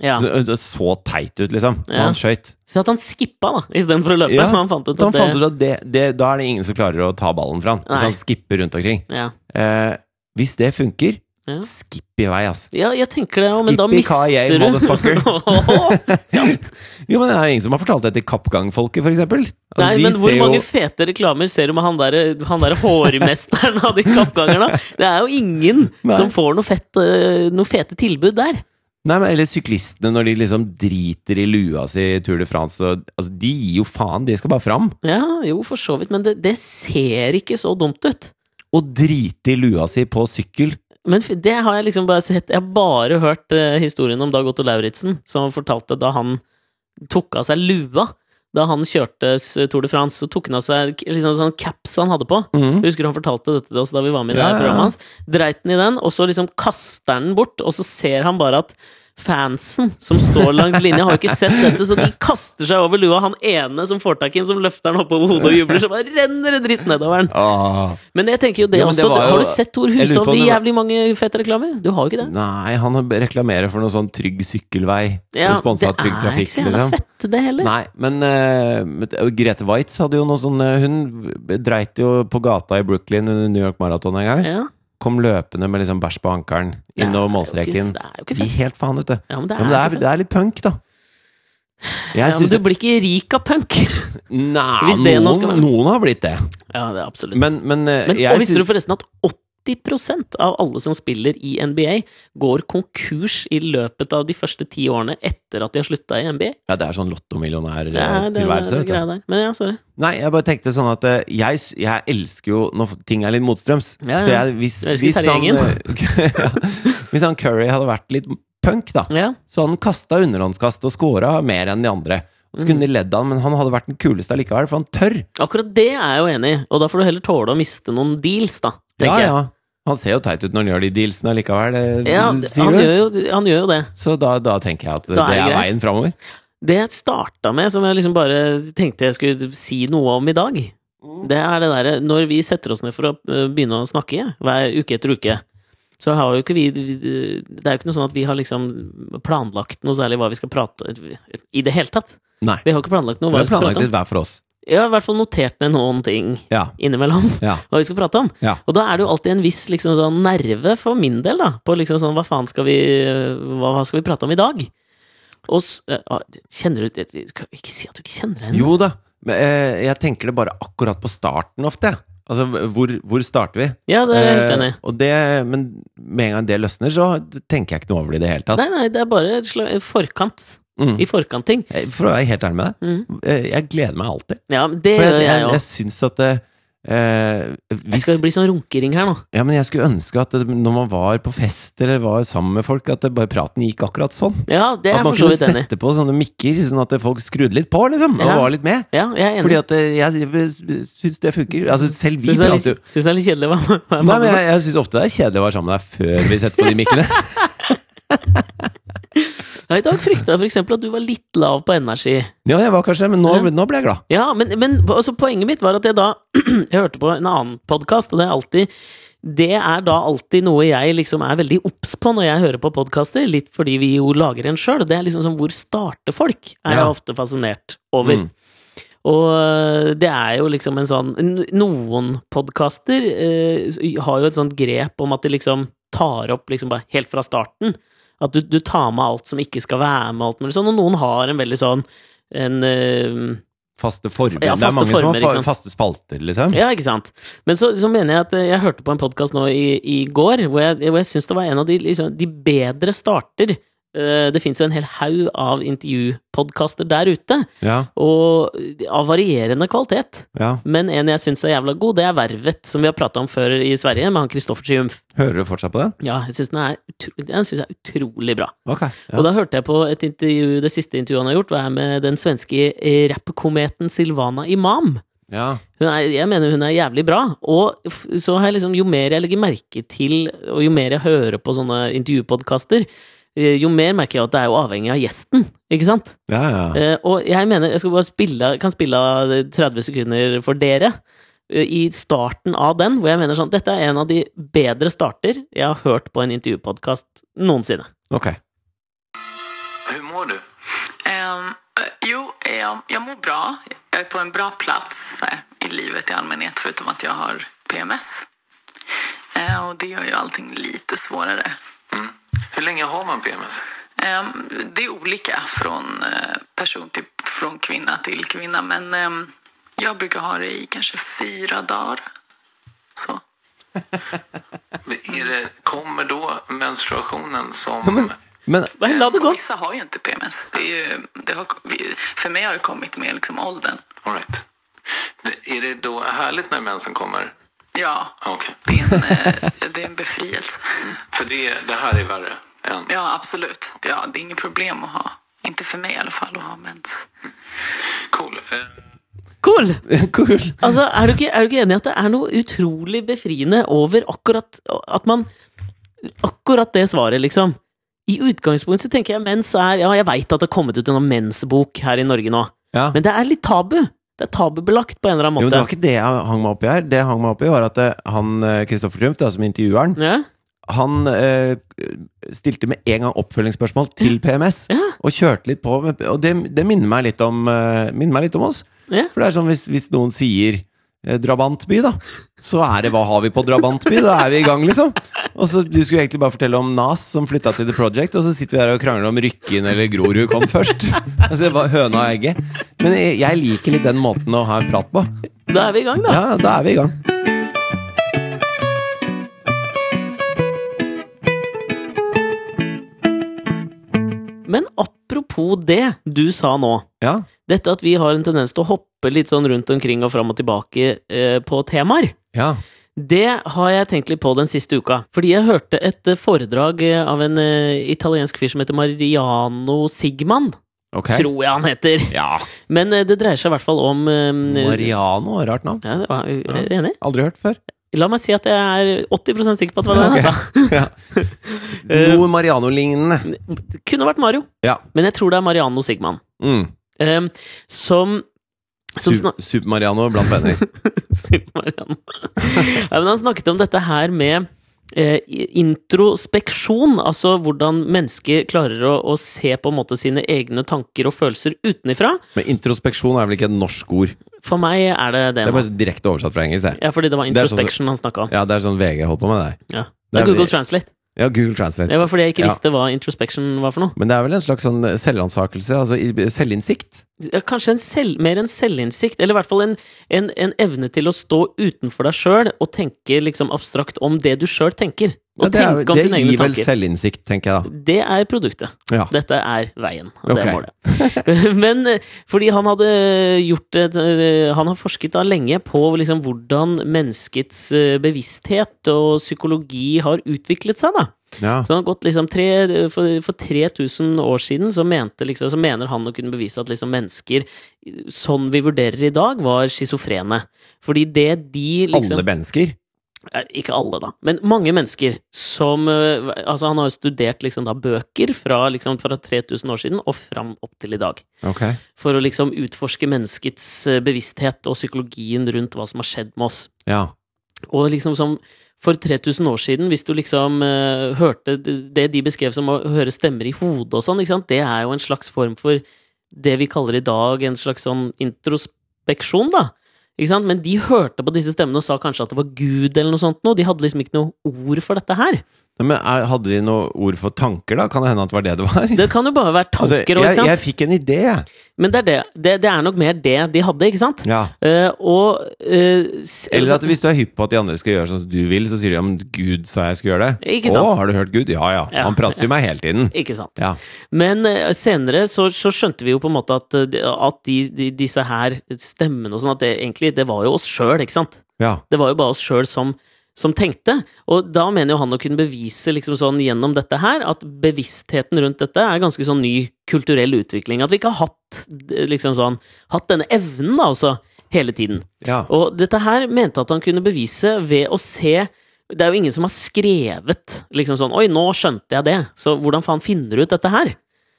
Ja.
Så, det så teit ut, liksom. Når
Ja. <laughs>
han skøyt.
Så at han skippa, da, istedenfor å løpe.
Ja,
Han fant ut at
Så han
det
fant ut at det, det, da er det ingen som klarer å ta ballen fra han.
Nei.
Så han skipper rundt omkring.
ja.
Eh, hvis det funker,
Ja.
skipp i vei, ass. <laughs>
ja, jeg tenker det, ja, men da
Skippy
mister
Kayay,
du
motherfucker.
<laughs> Kjapt.
Jo, men det er jo ingen som har fortalt det til Kappgangfolket, for eksempel. Altså,
Nei,
de
men hvor
ser
mange
jo,
fete reklamer ser du med han derre der hårmesteren av de kappgangerne? Det er jo ingen
Nei.
som får noe, fett, eh, noe fete tilbud der.
Nei, men Eller syklistene når de liksom driter i lua si i Tour de France. Og, altså, de gir jo faen, de skal bare fram.
Ja, jo, for så vidt, men det, det ser ikke så dumt ut.
Og drite i lua si på sykkel
Men f- det har jeg liksom bare sett Jeg har bare hørt eh, historien om Dag Otto Lauritzen, som fortalte da han tok av seg lua da han kjørte s- Tour de France, så tok han av seg k- liksom sånn caps han hadde på.
Mhm.
Jeg husker han fortalte dette til oss da vi var med i det
Ja,
her
ja, ja.
programmet hans. Dreit den i den, og så liksom kaster han den bort, og så ser han bare at fansen som står langs linja, har jo ikke sett dette, så de kaster seg over lua. Han ene som får tak i den, som løfter den oppover hodet og jubler, så bare renner det dritt nedover den.
Åh.
Men jeg tenker jo det
Ja, men
også.
det var jo-
har du sett Tor
Jeg lurer på
Hushov
om
i
det var-
jævlig mange fete reklamer? Du har jo ikke det.
Nei, han reklamerer for noe sånn Trygg sykkelvei.
Ja,
Sponsa av
det
Trygg
er ikke
Trafikk,
så jævla
liksom.
fett, det heller.
Nei, men eh, men Grete Waitz hadde jo noe sånn eh, Hun dreit jo på gata i Brooklyn under New York Marathon en gang.
Ja.
Kom løpende med liksom bæsj på ankelen innover
Det er jo ikke-
målstreken.
Det er jo ikke
Gi
fett.
helt faen ute.
Ja, men det
Ja,
er,
men det er,
ikke
det
fett.
er litt punk, da. Jeg
Ja, men
syns
du blir ikke rik av punk!
Nei,
Hvis det nå skal
noen,
være-
noen har blitt det.
<laughs> Ja, det er absolutt.
Men, men, eh,
Men, og
jeg
visste du
syns
forresten at 80 av alle som spiller i NBA, går konkurs i løpet av de første ti årene etter at de har slutta i NBA?
ja, Det er sånn
Det er det, er- det,
lottomillionær-tilværelse.
er
vet du.
greia der. Men ja, sorry.
Nei, jeg bare tenkte sånn at eh, jeg, s- jeg elsker jo når f- ting er litt motstrøms.
Ja, ja.
Så jeg, hvis,
Du elsker
hvis,
Terje
han,
Engen.
eh, <laughs> hvis han Curry hadde vært litt punk, da,
Ja,
så hadde han kasta underhåndskast og scora mer enn de andre. Og
Mhm.
så kunne de ledd av han, men han hadde vært den kuleste allikevel, for han tør.
akkurat det er jeg jo enig i, og da får du heller tåle å miste noen deals, da,
Ja,
tenker jeg.
ja. Han ser jo teit ut når han gjør de dealsene allikevel, det,
Ja,
sier
det- han
du.
gjør, jo, han gjør jo det.
Så da, da tenker jeg at det,
Da er
det
det
er
greit.
veien framover.
Det jeg starta med, som jeg liksom bare tenkte jeg skulle si noe om i dag,
Mm.
det er det derre Når vi setter oss ned for å øh, begynne å snakke, hver uke etter uke, så har jo ikke vi Det er jo ikke noe sånn at vi har liksom planlagt noe særlig hva vi skal prate I det hele tatt.
Nei.
Vi har ikke planlagt noe
Vi
hva vi
har
skal
planlagt
prate om.
litt hver for oss.
Jeg har i hvert fall notert ned noen ting
Ja.
innimellom
Ja.
hva vi skal prate om.
Ja.
Og da er det jo alltid en viss liksom, sånn nerve for min del, da, på liksom sånn hva faen skal vi Hva, hva skal vi prate om i dag? Og s- eh, ah, Kjenner du Ikke si at du ikke kjenner henne.
Jo da. Men, eh, jeg tenker det bare akkurat på starten ofte, jeg. Altså, hvor, hvor starter vi?
Ja, det er jeg helt
Eh,
enig i.
og det, men med en gang det løsner, så tenker jeg ikke noe over det i det hele tatt.
Nei, nei, det er bare et sla- forkant.
Mm.
I forkant-ting.
Eh, For å være helt ærlig med deg,
Mm.
eh, jeg gleder meg alltid.
Ja, men det
For
gjør
jeg,
jeg
jeg,
òg.
jeg syns at det, eh,
Det
hvis,
skal bli sånn runkering her nå.
ja, men jeg skulle ønske at det, når man var på fest eller var sammen med folk, at det bare praten gikk akkurat sånn.
Ja, det er
At
jeg
man
for så
kunne
vidt enig i.
sette på sånne mikker, sånn at folk skrudde litt på, liksom, og
Ja.
var litt med.
Ja, jeg er
Fordi
enig.
at eh, jeg syns det funker. Altså, selv vi
Syns det er
prater jo
litt, synes det er litt kjedelig, hva? hva
Nei, men jeg, jeg syns ofte det er kjedelig å være sammen med deg før vi setter på de mikkene.
Ja, I dag frykta jeg for eksempel at du var litt lav på energi.
<laughs> Ja, jeg var kanskje men nå,
Ja.
nå ble jeg glad.
Ja, men, men altså, poenget mitt var at jeg da <clears throat> Jeg hørte på en annen podkast, og det er alltid det er da alltid noe jeg liksom er veldig obs på når jeg hører på podkaster, litt fordi vi jo lager en sjøl. Det er liksom som hvor starter folk, er jeg
Ja.
ofte fascinert over.
Mm.
Og øh, det er jo liksom en sånn n- Noen podkaster øh, har jo et sånt grep om at de liksom tar opp liksom bare helt fra starten. At du, du tar med alt som ikke skal være med, alt mulig sånn. Og noen har en veldig sånn en øh,
Faste former.
Ja,
det
faste
er mange
former,
som
ikke
har
sant?
fa faste spalter, liksom.
Ja, ikke sant. Men så, så mener jeg at eh, jeg hørte på en podkast nå i, i går, hvor jeg, hvor jeg syns det var en av de, liksom, de bedre starter. Eh, Det fins jo en hel haug av intervjupodkaster der ute,
Ja,
og eh, av varierende kvalitet.
ja.
Men en jeg syns er jævla god, det er Vervet, som vi har prata om før i Sverige, med han Kristoffer Triumf.
Hører du fortsatt på den?
Ja, jeg syns den, er utro- den synes jeg er utrolig bra.
Ok.
Og
Ja.
da hørte jeg på et intervju, det siste intervjuet han har gjort, var med den svenske eh, rappkometen Silvana Imam.
ja.
Hun er, jeg mener hun er jævlig bra. Og f- så har jeg liksom, jo mer jeg legger merke til, og jo mer jeg hører på sånne intervjupodkaster, eh, jo mer merker jeg at det er jo avhengig av gjesten, ikke sant?
ja, ja.
Eh, Og jeg mener, jeg skal bare spille, kan spille av 30 sekunder for dere, eh, i starten av den, hvor jeg mener sånn, dette er en av de bedre starter jeg har hørt på en intervjupodkast noensinne.
Ok.
Hur mår du?
Ehm, eh, jo, ehm, jeg mår bra. Jeg er på en bra plats så här, i livet i allmänhet förutom att jag har PMS. Eh, och det gör ju allting lite svårare.
Mm. Hur länge har man PMS?
Ehm, det är olika från eh, person till från kvinna till kvinna men ehm, jag brukar ha det i kanske fyra dagar. Så.
Är det, kommer då menstruationen som...
Men <laughs>
Men la det gå!
Vissa har ju inte PMS. Det är ju, det har, vi- för mig har det kommit med liksom åldern.
All right. Är det då härligt när mensen kommer?
Ja,
Okej.
det är en, eh, det är en befrielse.
För det, det här är värre än...
Ja, absolut. Ja, det är inget problem att ha. Inte för mig i alla fall att ha mens.
Cool. Eh,
Cool!
Cool.
Altså, er du, ikke, er du ikke enig i at det er noe utrolig befriende over akkurat at man Akkurat det svaret, liksom. I utgangspunktet så tenker jeg mens er Ja, jeg veit at det har kommet ut en mensbok her i Norge nå,
Ja.
men det er litt tabu. Det er tabubelagt på en eller annen
Jo, men det var
måte.
ikke det jeg hang meg opp i her. Det jeg hang meg opp i, var at eh, han eh, Kristoffer Triumf, da, som intervjueren,
Ja,
han eh, stilte med en gang oppfølgingsspørsmål til PMS.
Ja.
Og kjørte litt på. med- Og det, det minner, meg litt om, eh, minner meg litt om oss.
Ja.
For det er sånn hvis, hvis noen sier eh, Drabantby, da. Så er det 'hva har vi på Drabantby'? Da er vi i gang, liksom. Og så Du skulle egentlig bare fortelle om Nas som flytta til The Project, og så sitter vi her og krangler om Rykken eller Grorud kom først. <laughs> Altså, hva- Høna og egget. Men jeg, jeg liker litt den måten å ha en prat på.
da er vi i gang, da.
Ja, da er vi i gang.
Men apropos det du sa nå.
Ja.
Dette at vi har en tendens til å hoppe litt sånn rundt omkring og fram og tilbake eh, på temaer.
Ja.
Det har jeg tenkt litt på den siste uka. Fordi jeg hørte et eh, foredrag eh, av en eh, italiensk fyr som heter Mariano Sigman.
Ok.
Tror jeg han heter.
Ja.
Men eh, det dreier seg i hvert fall om eh,
Mariano, rart navn.
ja, det var- er du enig?
Aldri hørt før.
La meg si at jeg er 80 sikker på at det var det han
Ok.
het. <laughs> Eh,
Noe Mariano-lignende.
Det kunne vært Mario,
Ja.
men jeg tror det er Mariano Sigman.
Mm.
eh, som som snak-
Sup- Super-Mariano blant venner.
<laughs> Super Marianne. ja, men han snakket om dette her med eh, introspeksjon, altså hvordan mennesket klarer å, å se på en måte sine egne tanker og følelser utenifra.
Men introspeksjon er vel ikke et norsk ord?
For meg er det det.
Det er
nå.
bare direkte oversatt fra engelsk. Det.
Ja, fordi det var
Det er sånn-
introspection han snakka om.
Ja, det er sånn VG holdt på med der.
Ja.
det
Det
er
er Google
vi-
Translate.
Ja, Google Translate.
Det var fordi jeg ikke
Ja.
visste hva introspection var for noe.
Men det er vel en slags sånn selvransakelse? Altså i- selvinnsikt?
Ja, Kanskje en selv, mer en selvinnsikt, eller i hvert fall en, en, en evne til å stå utenfor deg sjøl og tenke liksom abstrakt om det du sjøl tenker.
Ja,
Og
det er,
tenke om
det
sine
gir
egne
vel
tanker.
selvinnsikt, tenker jeg da.
Det er produktet.
Ja.
Dette er veien. og Det
Ok.
er målet. <laughs> Men eh, fordi han hadde gjort et, eh, Han har forsket da lenge på liksom hvordan menneskets eh, bevissthet og psykologi har utviklet seg, da.
Ja.
Så han har gått liksom tre, for, for 3000 år siden så, mente, liksom, så mener han å kunne bevise at liksom mennesker, sånn vi vurderer i dag, var schizofrene. Fordi det de liksom
Alle mennesker?
Eh, ikke alle, da, men mange mennesker som eh, Altså, han har jo studert liksom da bøker fra, liksom, fra 3000 år siden og fram opp til i dag.
Ok.
For å liksom utforske menneskets eh, bevissthet og psykologien rundt hva som har skjedd med oss.
Ja.
Og liksom som for 3000 år siden, hvis du liksom eh, hørte det de beskrev som å høre stemmer i hodet og sånn, ikke sant, det er jo en slags form for det vi kaller i dag en slags sånn introspeksjon, da. Ikke sant? Men de hørte på disse stemmene og sa kanskje at det var Gud eller noe sånt noe. De hadde liksom ikke noe ord for dette her.
Nei, Men er, hadde vi noe ord for tanker, da? Kan det hende at det var det det var?
Det kan jo bare være
Altså,
tanker òg,
jeg,
ikke
jeg
sant?
fikk en idé, jeg.
Men det er, det. Det, det er nok mer det de hadde, ikke sant?
Ja.
Eh, og eh, s-
Eller at hvis du er hypp på at de andre skal gjøre sånn som du vil, så sier de ja, men Gud sa jeg skulle gjøre det.
Ikke sant?
Å, har du hørt Gud? Ja, ja.
Ja.
Han prater til meg hele tiden.
Ikke sant?
Ja.
Men eh, senere så, så skjønte vi jo på en måte at, eh, at de, de, disse her stemmene og sånn, at det egentlig det var jo oss sjøl, ikke sant?
ja.
Det var jo bare oss sjøl som, som tenkte. Og da mener jo han å kunne bevise liksom sånn gjennom dette her at bevisstheten rundt dette er ganske sånn ny kulturell utvikling. At vi ikke har hatt, eh, liksom sånn, hatt denne evnen, da, altså, hele tiden.
Ja.
Og dette her mente at han kunne bevise ved å se Det er jo ingen som har skrevet liksom sånn Oi, nå skjønte jeg det, så hvordan faen finner du ut dette her?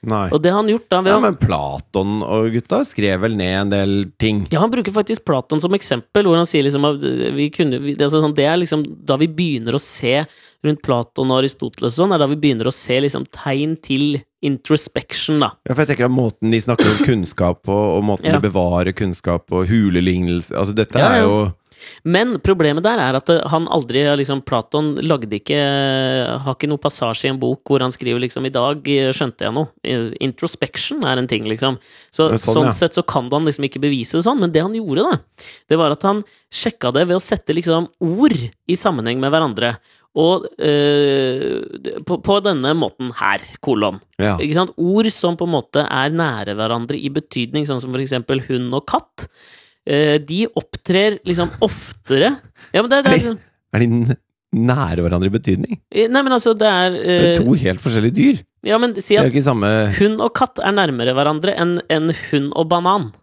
Nei.
Og det har han gjort da ved
Ja,
å
men Platon og gutta skrev vel ned en del ting.
ja, Han bruker faktisk Platon som eksempel, hvor han sier liksom at vi kunne, vi, det, er sånn, det er liksom da vi begynner å se rundt Platon og Aristoteles og sånn, er da vi begynner å se liksom tegn til introspection, da.
Ja, for jeg tenker at Måten de snakker om kunnskap på, og måten
Ja.
de bevarer kunnskap på, hulelignelse Altså, dette
Ja, ja.
er jo
Men problemet der er at eh, han aldri har liksom, Platon lagde ikke eh, Har ikke noe passasje i en bok hvor han skriver liksom I dag eh, skjønte jeg noe. Eh, Introspection er en ting, liksom. Så,
Ja, sånn,
sånn
ja.
sett så kan han liksom ikke bevise det sånn, men det han gjorde, da, det var at han sjekka det ved å sette liksom ord i sammenheng med hverandre. Og eh, på, på denne måten her, kolon.
ja.
Ikke sant? Ord som på en måte er nære hverandre i betydning, sånn som for eksempel hund og katt. eh, de opptrer
<laughs>
liksom oftere Ja, men det, det er sånn
Er de n- nære hverandre i betydning?
Eh, Nei, men altså, det er
Det
eh,
er to helt forskjellige dyr.
Ja, men si
Det er jo
at
ikke samme
hund og katt er nærmere hverandre enn enn hund og banan.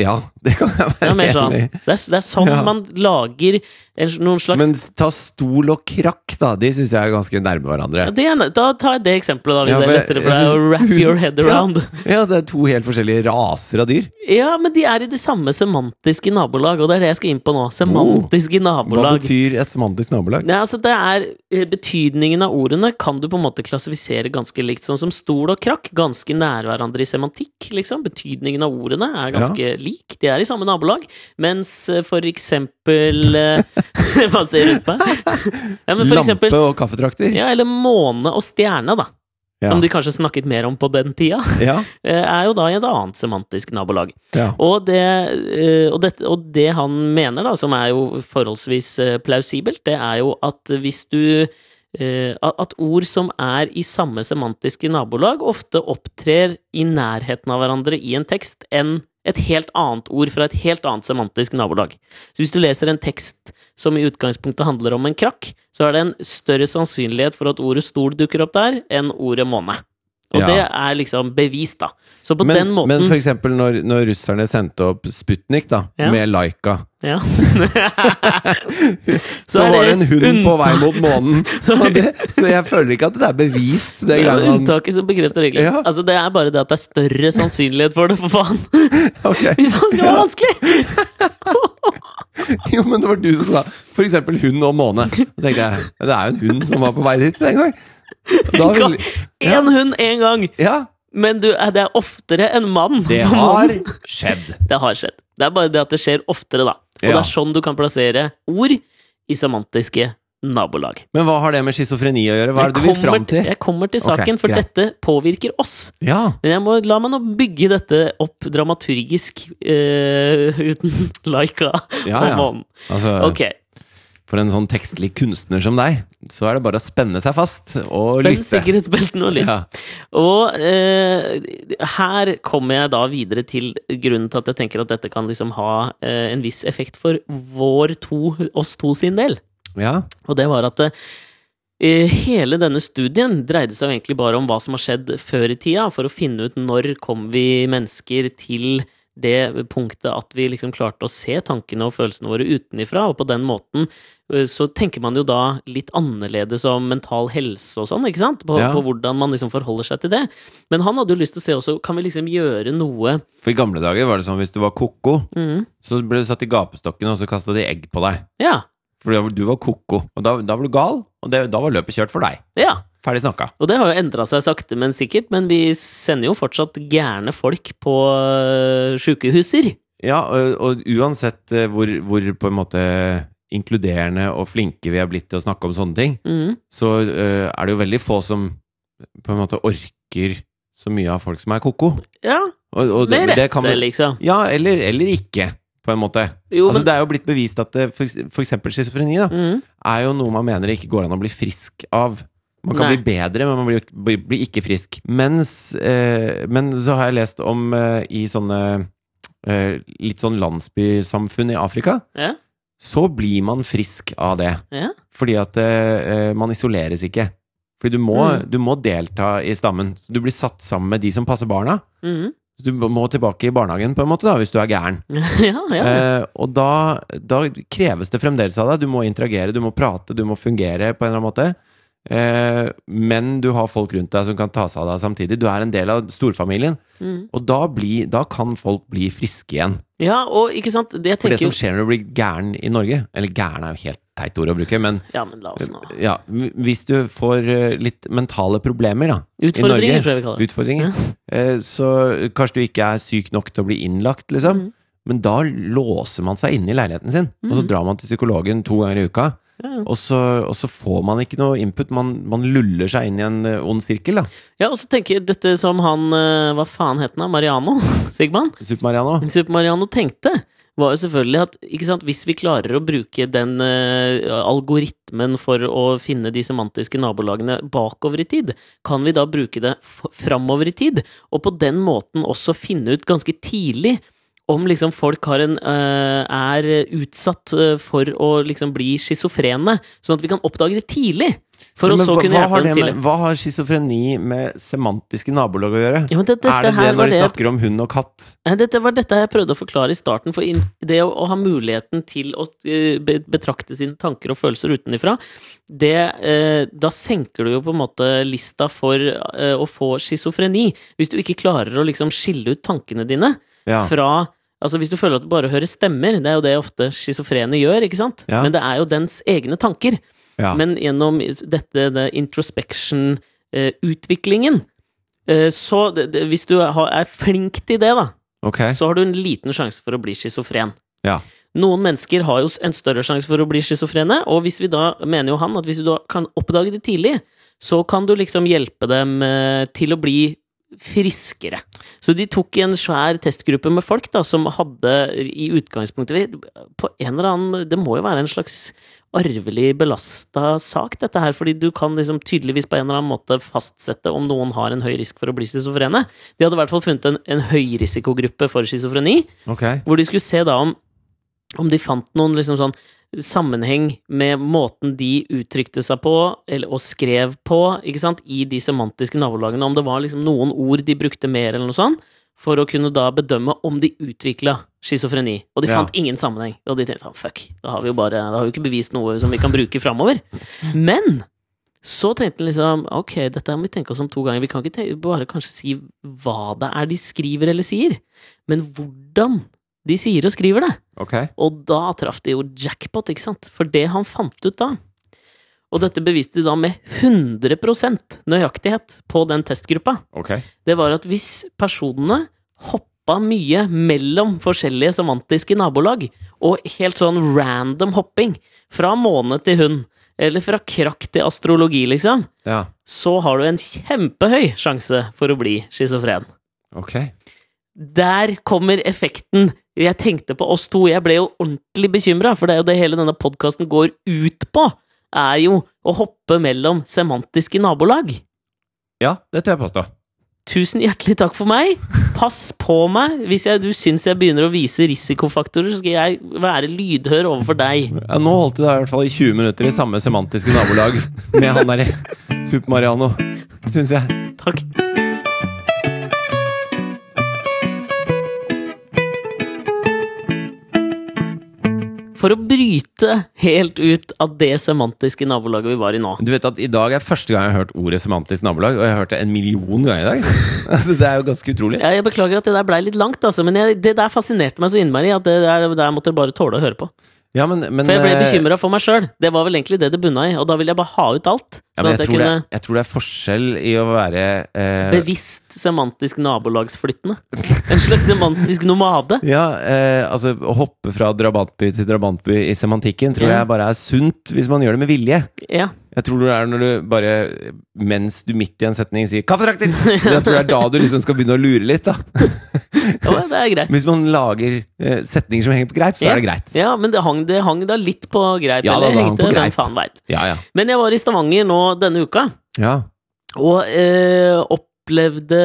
Ja, <laughs> det kan jeg
Det er, mer
være
sånn,
enig i.
det er, det er sånn
Ja.
man lager en, noen slags
Men ta stol og krakk, da. De syns jeg er ganske nærme hverandre.
ja, det er, Da tar jeg det eksempelet, da, hvis
Ja,
det er
men
lettere
jeg
for
<laughs>
deg å
synes-
wrap your head
Ja.
around.
Ja, det er to helt forskjellige raser av dyr.
Ja, men de er i det samme semantiske nabolag, og det er det jeg skal inn på nå. Semantiske
Hva
nabolag.
betyr et semantisk nabolag?
Nei, altså det er eh, Betydningen av ordene kan du på en måte klassifisere ganske likt. Sånn som stol og krakk, ganske nær hverandre i semantikk. liksom. Betydningen av ordene er ganske lik. De er i samme nabolag. Mens eh, for eksempel eh, <laughs> Hva ser du på? Ja, men for
Lampe
eksempel
og kaffetrakter?
ja, Eller måne og stjerne, da.
Ja.
Som de kanskje snakket mer om på den tida.
ja.
eh, Er jo da i et annet semantisk nabolag.
ja.
Og det, eh, og, det, og det han mener, da, som er jo forholdsvis eh, plausibelt, det er jo at hvis du eh, At at ord som er i samme semantiske nabolag, ofte opptrer i nærheten av hverandre i en tekst enn et helt annet ord fra et helt annet semantisk nabolag. Så hvis du leser en tekst som i utgangspunktet handler om en krakk, så er det en større sannsynlighet for at ordet stol dukker opp der, enn ordet måne. Og
Ja.
det er liksom bevist, da. Så på
men,
den måten
men for eksempel når, når russerne sendte opp Sputnik da,
Ja.
med Laika, <laughs>
Ja.
så, var det en hund på vei mot månen.
<laughs> Så-
Og det, så jeg føler ikke at det er bevist. Det
Det er jo
greiene han
unntaket som bekrefter regelen.
Ja.
Altså, det er bare det at det er større sannsynlighet for det, for faen! <laughs> Fy
<laughs> Ok.
faen, skal det være vanskelig!
Jo, men det var du som sa for eksempel hund og måne. Da tenkte jeg det er jo en hund som var på vei dit den gang. Da vil, Ja.
Én hund én gang,
ja,
men du, eh, det er oftere enn <laughs> mann.
det
på
har
månen.
skjedd.
det har skjedd. Det er bare det at det skjer oftere, da. Og
Ja.
det er sånn du kan plassere ord i semantiske nabolag.
Men hva har det med schizofreni å gjøre? Hva er det du vil
Jeg
fram
kommer,
til?
jeg kommer til
Ok,
saken, for
greit.
dette påvirker oss.
Ja,
Men jeg må, la meg nå bygge dette opp dramaturgisk eh, <laughs> uten Laika
Ja,
og
ja.
månen.
altså
Ok.
For en sånn tekstlig kunstner som deg, så er det bare å spenne seg fast og
Spenn
lytte.
sikkerhetsbeltene og lytt.
Ja.
Og eh, her kommer jeg da videre til grunnen til at jeg tenker at dette kan liksom ha eh, en viss effekt for vår to, oss to sin del.
ja.
Og det var at eh, hele denne studien dreide seg jo egentlig bare om hva som har skjedd før i tida, for å finne ut når kom vi mennesker til det punktet at vi liksom klarte å se tankene og følelsene våre utenifra, og på den måten eh, så tenker man jo da litt annerledes om mental helse og sånn, ikke sant? På,
Ja.
på hvordan man liksom forholder seg til det. Men han hadde jo lyst til å se også, kan vi liksom gjøre noe
For i gamle dager var det sånn hvis du var koko,
Mhm.
så ble du satt i gapestokken, og så kasta de egg på deg.
Ja,
For da- du var koko, og da, da var du gal, og det, da var løpet kjørt for deg.
ja.
Ferdig snakka.
Og det har jo endra seg sakte, men sikkert, men vi sender jo fortsatt gærne folk på øh, sjukehuser.
Ja, og, og uansett eh, hvor, hvor på en måte inkluderende og flinke vi er blitt til å snakke om sånne ting,
Mhm.
så eh, er det jo veldig få som på en måte orker så mye av folk som er koko.
Ja,
Og, og det,
med
det
rette,
kan man-
liksom.
Ja, eller, eller ikke, på en måte.
Jo,
altså,
men-
Det er jo blitt bevist at det, for, eks- for eksempel schizofreni da,
Mhm.
er jo noe man mener det ikke går an å bli frisk av. Man kan
Nei.
bli bedre, men man blir, blir, blir ikke frisk. Mens, eh, men så har jeg lest om eh, i sånne eh, litt sånn landsbysamfunn i Afrika,
Ja,
så blir man frisk av det.
ja.
Fordi at eh, man isoleres ikke. Fordi du må,
Mm.
du må delta i stammen. Så du blir satt sammen med de som passer barna.
Mhm.
Så du må tilbake i barnehagen på en måte da, hvis du er gæren.
<laughs> ja, ja.
Eh, og da, da kreves det fremdeles av deg. Du må interagere, du må prate, du må fungere på en eller annen måte. Eh, men du har folk rundt deg som kan ta seg av deg samtidig. Du er en del av storfamilien.
Mhm.
Og da, bli, da kan folk bli friske igjen.
ja, og ikke sant, det jeg
For
tenker
det som
jo
skjer når du blir gæren i Norge Eller gæren er jo helt teit ord å bruke, men
Ja, men la oss nå
ja, hvis du får eh, litt mentale problemer da, i
Utfordringer,
Norge
tror jeg vi kaller det.
Utfordringer. Eh, så kanskje du ikke er syk nok til å bli innlagt, liksom.
Mm.
Men da låser man seg inne i leiligheten sin, og så drar man til psykologen to ganger i uka.
Ja.
Og, så, og så får man ikke noe input. Man, man luller seg inn i en eh, ond sirkel, da.
Ja, og så tenker jeg dette som han øh, Hva faen het han da? Mariano? <laughs> Sigman?
Super-Mariano.
Super Mariano tenkte, var jo selvfølgelig at ikke sant, hvis vi klarer å bruke den eh, algoritmen for å finne de semantiske nabolagene bakover i tid, kan vi da bruke det f framover i tid? Og på den måten også finne ut ganske tidlig om liksom folk har en, eh, er utsatt eh, for å liksom bli schizofrene, sånn at vi kan oppdage det tidlig. For
Men
å så
hva-
kunne
hva, har
hjelpe
det
dem tidlig.
med, hva har schizofreni med semantiske nabolag å gjøre?
Ja, men dette,
er det det
her var
når de
det
snakker om hund og katt?
Nei, Eh, dette var dette jeg prøvde å forklare i starten, for inn- det å, å ha muligheten til å eh, be- betrakte sine tanker og følelser utenifra, det, eh, da senker du jo på en måte lista for eh, å få schizofreni. Hvis du ikke klarer å liksom skille ut tankene dine
Ja.
fra Altså Hvis du føler at du bare hører stemmer, det er jo det ofte schizofrene gjør, ikke sant?
Ja.
Men det er jo dens egne tanker.
ja.
Men gjennom dette det introspection-utviklingen eh, Så det, det, hvis du har, er flink til det, da,
ok.
så har du en liten sjanse for å bli schizofren.
Ja.
Noen mennesker har jo s- en større sjanse for å bli schizofrene, og hvis vi da, mener jo han at hvis du da kan oppdage det tidlig, så kan du liksom hjelpe dem eh, til å bli friskere. Så de tok en svær testgruppe med folk da, som hadde i utgangspunktet på en eller annen, Det må jo være en slags arvelig belasta sak, dette her, fordi du kan liksom tydeligvis på en eller annen måte fastsette om noen har en høy risk for å bli schizofrene. De hadde i hvert fall funnet en, en høyrisikogruppe for schizofreni,
ok.
hvor de skulle se da om, om de fant noen liksom sånn sammenheng med måten de uttrykte seg på eller, og skrev på ikke sant, i de semantiske nabolagene, om det var liksom noen ord de brukte mer eller noe sånt, for å kunne da bedømme om de utvikla schizofreni. Og de
Ja.
fant ingen sammenheng. Og de tenkte sånn, fuck, da har vi jo bare, da har vi jo ikke bevist noe som vi kan bruke framover. Men så tenkte jeg liksom Ok, dette må vi tenke oss om to ganger. Vi kan ikke te- bare kanskje si hva det er de skriver eller sier, men hvordan de sier og skriver det.
Ok.
Og da traff de jo jackpot, ikke sant? For det han fant ut da Og dette beviste de da med 100 nøyaktighet på den testgruppa.
Ok.
Det var at hvis personene hoppa mye mellom forskjellige semantiske nabolag, og helt sånn random hopping, fra måne til hund, eller fra krakk til astrologi, liksom,
Ja.
så har du en kjempehøy sjanse for å bli schizofren.
Ok.
Der kommer effekten jeg tenkte på oss to. Jeg ble jo ordentlig bekymra, for det er jo det hele denne podkasten går ut på. Er jo å hoppe mellom semantiske nabolag.
Ja, det tør jeg påstå.
Tusen hjertelig takk for meg. Pass på meg. Hvis jeg, du syns jeg begynner å vise risikofaktorer, så skal jeg være lydhør overfor deg.
Ja, nå holdt du deg i hvert fall i 20 minutter i samme semantiske nabolag med han derre Super-Mariano, syns jeg.
Takk. For å bryte helt ut av det semantiske nabolaget vi var i nå.
Du vet at I dag er første gang jeg har hørt ordet semantisk nabolag, og jeg har hørt det en million ganger i dag. <laughs> Altså, det er jo ganske utrolig.
Jeg, jeg beklager at det der blei litt langt, altså, men jeg, det der fascinerte meg så innmari at det der, der måtte jeg bare tåle å høre på.
Ja, men, men,
For jeg ble
eh,
bekymra for meg sjøl. Det var vel egentlig det det bunna i, og da ville jeg bare ha ut alt.
Ja,
Sånn
men
at jeg
jeg, tror det,
kunne
jeg tror det er forskjell i å være eh,
bevisst semantisk nabolagsflyttende. En slags semantisk nomade.
Ja, eh, altså å hoppe fra drabantby til drabantby i semantikken tror
Ja.
jeg bare er sunt hvis man gjør det med vilje.
Ja.
Jeg tror det er når du bare, mens du midt i en setning sier 'kaffetrakter', jeg tror det er da du liksom skal begynne å lure litt, da.
ja, det er greit.
Hvis man lager eh, setninger som henger på greip, så er det greit.
Ja, men det hang, det hang da litt på greip.
Ja,
eller
det hang
hengte,
på
hvem
greip.
faen vet.
Ja, ja.
Men jeg var i Stavanger nå denne uka,
Ja.
og eh, opplevde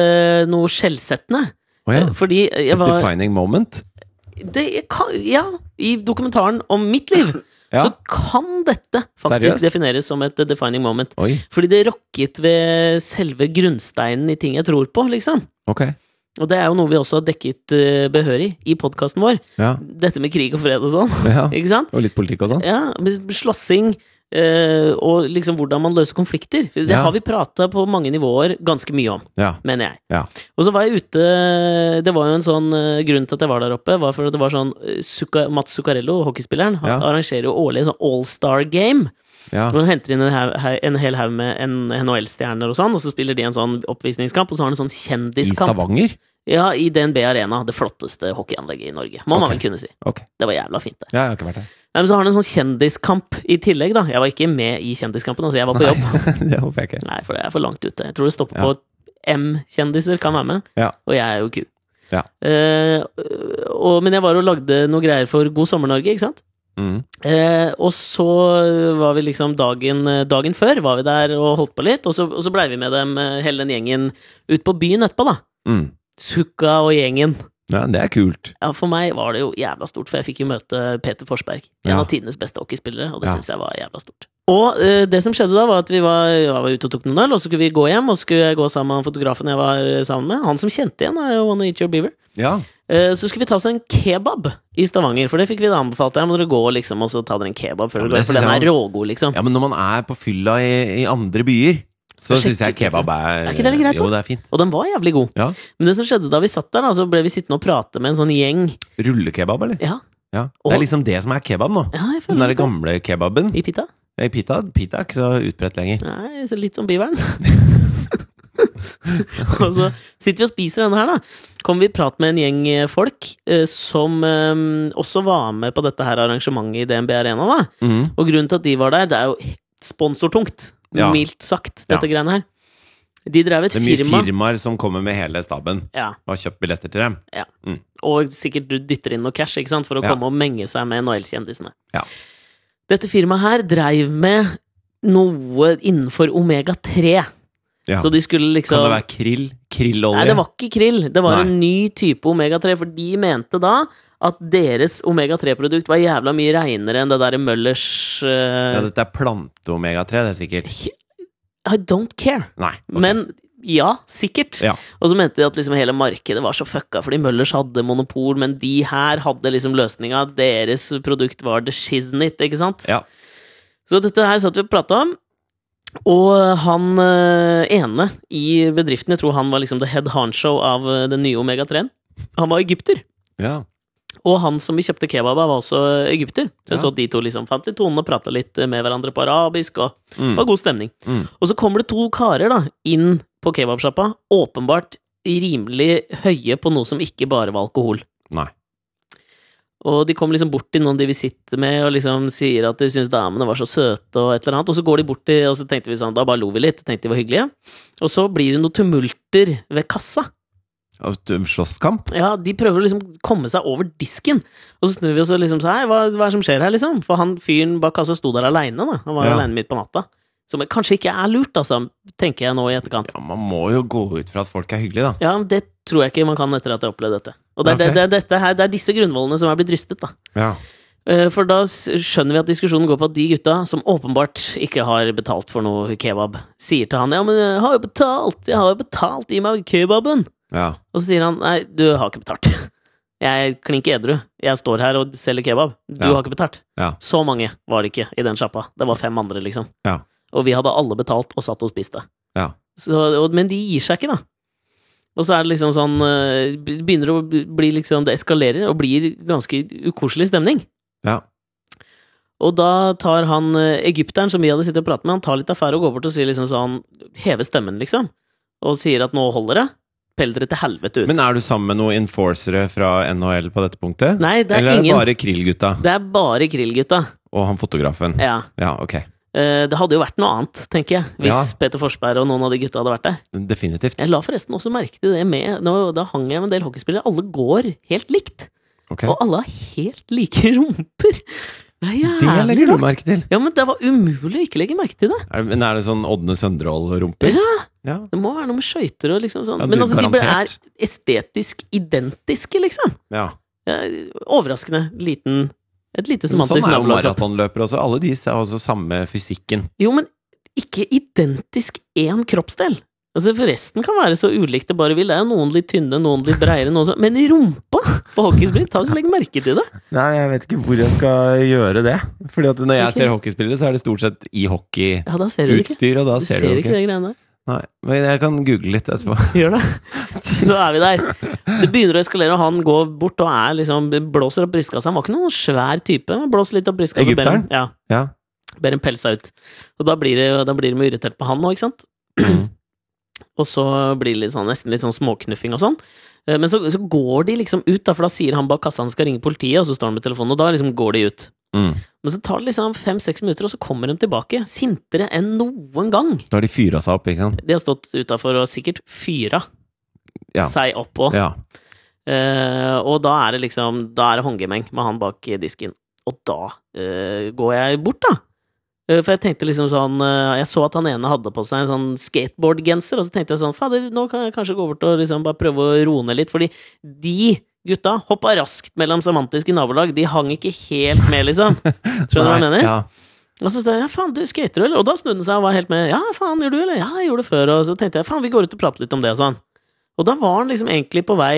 noe skjellsettende.
Å ja.
Eh, Fordi jeg var
Defining moment.
det jeg kan, Ja, i dokumentaren om mitt liv
<laughs> Ja.
så kan dette faktisk
Seriøst?
defineres som et eh, defining moment.
Oi.
Fordi det rokket ved selve grunnsteinen i ting jeg tror på, liksom.
Ok.
Og det er jo noe vi også har dekket eh, behørig i podkasten vår.
Ja.
Dette med krig og fred og sånn, <laughs>
ja.
ikke sant?
Og litt politikk og sånn.
Ja, men slåssing eh, og liksom hvordan man løser konflikter. Det
Ja.
har vi prata på mange nivåer ganske mye om,
Ja.
mener jeg.
Ja.
Og så var jeg ute Det var jo en sånn eh, grunn til at jeg var der oppe, var for at det var sånn eh, Zucca- Mats Zuccarello, hockeyspilleren, han
Ja.
arrangerer jo årlig sånn all-star game.
Ja.
Hvor han henter inn en, haug- hau- en hel haug med en- NHL-stjerner og sånn, og så spiller de en sånn oppvisningskamp, og så har han en sånn
I
kjendiskamp.
Stavanger?
Ja, I DNB Arena, det flotteste hockeyanlegget i Norge, må man
Ok.
vel kunne si.
Ok.
Det var jævla fint, det.
Ja, jeg har ikke vært der. <laughs>
Nei, men så har han en sånn kjendiskamp i tillegg, da. Jeg var ikke med i kjendiskampen, altså jeg var på jobb. Nei,
det håper jeg ikke.
for det er for langt ute. Jeg tror det stopper på M-kjendiser kan være med,
Ja.
og jeg er jo ku.
Ja.
Eh, og, men jeg var og lagde noe greier for God sommer-Norge, ikke sant?
Mm.
Eh, og så var vi liksom dagen, dagen før var vi der og holdt på litt, og så, og så blei vi med dem, eh, hele den gjengen, ut på byen etterpå, da.
Mm.
Sukka og gjengen.
Ja, det er kult.
Ja, For meg var det jo jævla stort, for jeg fikk jo møte Peter Forsberg. En
Ja.
av tidenes beste hockeyspillere, og det
Ja.
synes syns jeg var jævla stort. Og eh, det som skjedde da, var at vi var, jeg var ute og tok noen øl, og så skulle vi gå hjem, og så skulle jeg gå sammen med han fotografen jeg var eh, sammen med. Han som kjente igjen, er jo Wanna Eat Your Beaver.
Ja.
Eh, Så skulle vi ta oss en kebab i Stavanger, for det fikk vi da anbefalt. Der må dere gå liksom, og så ta dere en kebab før dere
Ja, men det
går, for den
synes
er
jeg
rågod, liksom.
ja, men når man er på fylla i, i andre byer, så
Så
syns jeg
sjekker litt,
kebab er
Er ikke det litt greit, da?
Jo, det er fint.
Og den var jævlig god.
Ja.
Men det som skjedde da vi satt der, da, så ble vi sittende og prate med en sånn gjeng.
Rullekebab, eller?
Ja,
Ja.
Og-
Det er liksom det som er kebab nå.
ja jeg
Den
føler
der
det.
gamle kebaben.
I pita?
Eh, Pita, pita er ikke så utbredt lenger.
Nei, så litt som biveren. <laughs> og så sitter vi og spiser denne her, da. Kommer vi i prat med en gjeng eh, folk eh, som eh, også var med på dette her arrangementet i DNB Arena, da.
Mhm.
Og grunnen til at de var der, det er jo sponsortungt.
Ja.
Mildt sagt, dette
Ja.
greiene her. De drev et
Det er mye
firma,
firmaer som kommer med hele staben
Ja,
og har kjøpt billetter til dem.
og sikkert du dytter inn noe cash ikke sant, for å
Ja.
komme og menge seg med NHL-kjendisene.
Ja.
Dette firmaet her dreiv med noe innenfor omega-3.
Ja.
Så de skulle liksom
Kan det være krill? Krillolje?
Nei, det var ikke krill. Det var
Nei.
en ny type omega-3, for de mente da at deres omega-3-produkt var jævla mye reinere enn det derre Møllers
Ja,
eh,
dette er plante-omega-3, det er sikkert.
I don't care.
Nei. ok.
Men ja, sikkert.
Ja.
Og så mente de at liksom hele markedet var så fucka fordi Møllers hadde monopol, men de her hadde liksom løsninga. Deres produkt var the shiznit, ikke sant?
Ja.
Så dette her satt vi og prata om. Og han eh, ene i bedriften, jeg tror han var liksom the head honcho av eh, den nye Omega-3-en, han var egypter.
ja.
Og han som vi kjøpte kebab av, var også egypter. Så jeg
Ja.
så at de to liksom fant litt tonen og prata litt med hverandre på arabisk, og det
Mm.
var god stemning.
Mm.
Og så kommer det to karer da, inn på kebabsjappa, åpenbart rimelig høye på noe som ikke bare var alkohol.
Nei.
Og de kommer liksom bort til noen de vi sitter med, og liksom sier at de syns damene var så søte, og et eller annet. Og så går de bort til, og så tenkte vi sånn, da bare lo vi litt, tenkte de var hyggelige. Og så blir det noen tumulter ved kassa.
Og t- Slåsskamp?
Ja, de prøver å liksom komme seg over disken. Og så snur vi oss og liksom så her, hva, hva er det som skjer her, liksom? For han fyren bak kassa sto der aleine, da. Han var
Ja.
aleine midt på natta. Som kanskje ikke er lurt, altså, tenker jeg nå i etterkant.
Ja, man må jo gå ut fra at folk er hyggelige, da.
Ja, men det tror jeg ikke man kan etter at jeg har opplevd dette. Og det er,
Ok.
det, det, er dette her, det er disse grunnvollene som er blitt rystet, da.
Ja.
Eh, For da s- skjønner vi at diskusjonen går på at de gutta, som åpenbart ikke har betalt for noe kebab, sier til han ja, men jeg har jo betalt, jeg har jo betalt, gi meg kebaben.
ja.
Og så sier han nei, du har ikke betalt. Jeg klinker edru. Jeg står her og selger kebab. Du
Ja.
har ikke betalt.
Ja.
Så mange var det ikke i den sjappa. Det var fem andre, liksom.
Ja.
Og vi hadde alle betalt og satt og spiste.
Ja.
Så, og, men de gir seg ikke, da. Og så er det liksom sånn eh, Begynner å bli liksom Det eskalerer og blir ganske ukoselig stemning.
Ja.
Og da tar han eh, egypteren som vi hadde sittet og pratet med, han tar litt affære og går bort og sier liksom sånn Hever stemmen, liksom. Og sier at nå holder det. Pell dere til helvete ut.
Men er du sammen med noen enforcere fra NHL på dette punktet?
Nei, det er
Eller er
ingen.
det bare krillgutta
Det er bare krillgutta.
og han fotografen?
Ja.
Ja, ok.
Eh, Det hadde jo vært noe annet, tenker jeg, hvis
Ja.
Peter Forsberg og noen av de gutta hadde vært der.
Definitivt.
Jeg la forresten også merke til det med nå, Da hang jeg med en del hockeyspillere. Alle går helt likt.
Ok.
Og alle har helt like <laughs> rumper. Det er
Det
jævlig
legger du
rart.
merke til.
Ja, men det var umulig å ikke legge merke til det.
Er, men er det sånn Ådne Søndrål-rumper?
Ja.
ja.
Det må være noe med skøyter og liksom sånn.
Ja,
men
du,
altså, de bare er
garantert.
estetisk identiske, liksom.
Ja.
Eh, Overraskende liten Et lite
Men
semantisk altså.
sånn er jo
nabolag.
maratonløpere også. Alle de har også samme fysikken.
Jo, men ikke identisk én kroppsdel. Altså, Forresten kan være så ulikt det bare vil. Det er jo noen litt tynne, noen litt breiere, noen sånn Men i rumpa på hockeyspill! Ta så legg merke til det.
Nei, jeg vet ikke hvor jeg skal gjøre det. Fordi at når jeg
Ikke?
ser hockeyspillere, så er det stort sett i hockeyutstyr,
Ja, da ser du det ikke.
og da
Du
ser du jo
ser ikke
ikke.
de greiene der.
Nei, men jeg kan google litt etterpå.
Gjør det. Så er vi der. Det begynner å eskalere, og han går bort og er liksom blåser opp brystkassa. Han var ikke noen svær type, men blåser litt opp brystkassa. og ber
Egypteren?
om- Ja.
<laughs> Ja.
Ber en pelse ut. Og da blir det, da blir de jo irritert på han nå, ikke sant?
Mhm.
Og så blir det litt sånn, nesten litt sånn småknuffing og sånn. Eh, Men så, så går de liksom ut, da, for da sier han bak kassa han skal ringe politiet, og så står han med telefonen, og da liksom går de ut.
Mm.
Men så tar det liksom fem-seks minutter, og så kommer de tilbake, sintere enn noen gang.
Da har de fyra seg opp, ikke sant?
De har stått utafor og sikkert fyra
Ja.
seg opp òg.
Ja.
Eh, og da er det liksom Da er det håndgemeng med han bak eh, disken. Og da eh, går jeg bort, da. Eh, for jeg tenkte liksom sånn eh, Jeg så at han ene hadde på seg en sånn skateboardgenser, og så tenkte jeg sånn Fader, nå kan jeg kanskje gå bort og liksom bare prøve å roe ned litt, fordi de Gutta hoppa raskt mellom semantiske nabolag. De hang ikke helt med, liksom. Skjønner du hva jeg
Nei,
mener?
Ja.
Og så sa jeg ja, faen, du skater, eller? Og da snudde han seg og var helt med. Ja, faen, gjør du, eller? Ja, jeg gjorde det før. Og så tenkte jeg faen, vi går ut og prater litt om det og sånn. Og da var han liksom egentlig på vei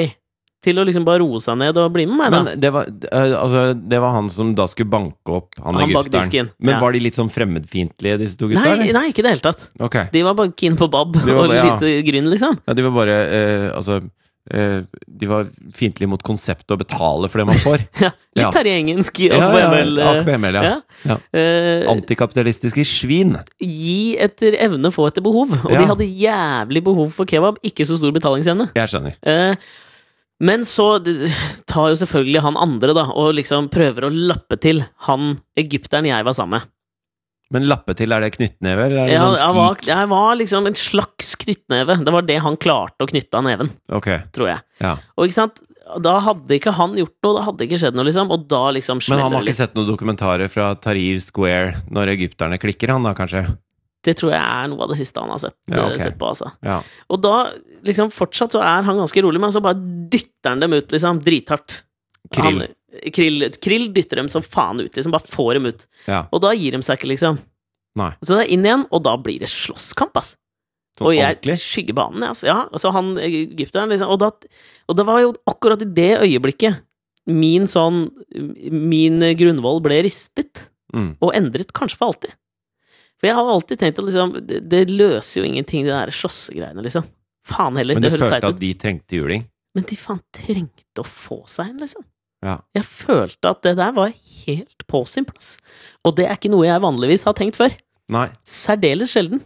til å liksom bare roe seg ned og bli med meg, da.
Men det var, eh, altså, det var han som da skulle banke opp han,
Han bak
egypteren.
disken,
Men
ja.
var de litt sånn fremmedfiendtlige, disse to gutta?
nei,
eller?
nei, ikke i det hele tatt.
Ok.
De var bare keen på bab
De
og
var bare- ja.
lite gryn, liksom.
Ja, de var bare eh, Altså, eh, de var fiendtlige mot konseptet å betale for det man
<laughs>
får.
Ja, litt
Ja.
Terje Engensk i
Ja, ja,
AKBML. eh,
AKBML, ja. Ja.
Eh,
Antikapitalistiske svin.
gi etter evne, få etter behov. Og
Ja.
de hadde jævlig behov for kebab, ikke så stor betalingsevne.
Jeg skjønner.
Eh, men så d- <laughs> tar jo selvfølgelig han andre, da, og liksom prøver å lappe til han egypteren jeg var sammen med.
Men lappe til, er det knyttneve, eller er det
Jeg,
sånn
jeg, var,
fik?
jeg var liksom en slags knyttneve. Det var det han klarte å knytte av neven,
Ok,
tror jeg.
ja.
Og ikke sant, da hadde ikke han gjort noe, da hadde ikke skjedd noe, liksom. Og da liksom
Men han
smeller
har
det
ikke
litt.
sett noen dokumentarer fra Tahrir Square når egypterne klikker, han da, kanskje?
Det tror jeg er noe av det siste han har sett,
Ja, ok.
sett på, altså.
Ja.
Og da, liksom, fortsatt så er han ganske rolig, men så bare dytter han dem ut, liksom, drithardt.
Krill.
Han, krill, krill dytter dem som faen ut, liksom, bare får dem ut.
Ja.
Og da gir de seg ikke, liksom.
Nei.
Så det er inn igjen, og da blir det slåsskamp, ass.
Sånn
og jeg
ordentlig?
skygger banen, jeg, altså. Ja, og så han egypteren, liksom. Og, da, og det var jo akkurat i det øyeblikket min sånn Min grunnvoll ble ristet
Mm.
og endret kanskje for alltid. For jeg har jo alltid tenkt at liksom, det, det løser jo ingenting, de der slåssegreiene, liksom. Faen heller,
Men
det
du
høres
følte
teit
at
ut.
de trengte juling?
Men de faen trengte å få seg en, liksom.
Ja.
Jeg følte at det der var helt på sin plass. Og det er ikke noe jeg vanligvis har tenkt før.
Nei.
Særdeles sjelden.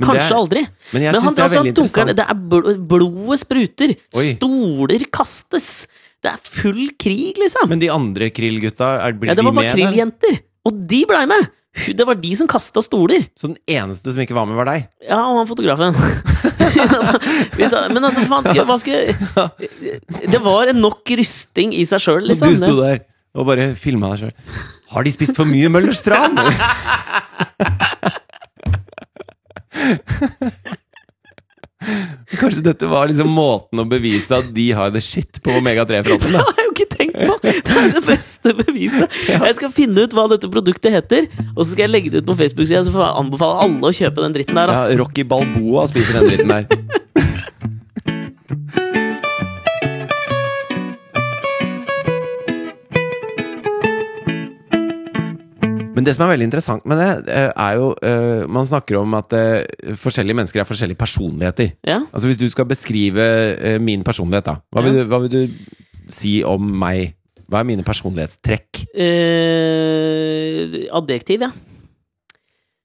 Men det
Kanskje
er-
aldri.
Men jeg
Men
syns
han
det er
altså,
veldig
han dunker
interessant.
ned. Det er bl blodet spruter.
Oi.
Stoler kastes. Det er full krig, liksom.
Men de andre krill-gutta, er- blir
ja, det
de
var
med?
bare
eller?
krilljenter. Og de blei med! Hu- Det var de som kasta stoler.
Så den eneste som ikke var med, var deg?
Ja, og han
<laughs>
fotografen. Hvis han- Men altså, faen, skulle, hva skulle Det var en nok rysting i seg sjøl,
Og du
liksom.
sto
<laughs>
der og bare filma deg sjøl. Har de spist for mye Møllers tran? Kanskje dette var liksom måten å bevise at de har the shit på Omega-3-fronten?
Det
da
har jeg jo ikke tenkt på! Det er det beste beviset. Jeg skal finne ut hva dette produktet heter, og så skal jeg legge det ut på Facebook-sida, så får jeg anbefale alle å kjøpe den dritten der.
Ja,
Ass.
Rocky Balboa spiser den dritten der. Men det som er veldig interessant med det, eh, er jo eh, Man snakker om at eh, forskjellige mennesker er forskjellige personligheter.
Ja.
Altså Hvis du skal beskrive eh, min personlighet, da. Hva vil, du, hva vil du si om meg? Hva er mine personlighetstrekk?
Eh, adjektiv, ja.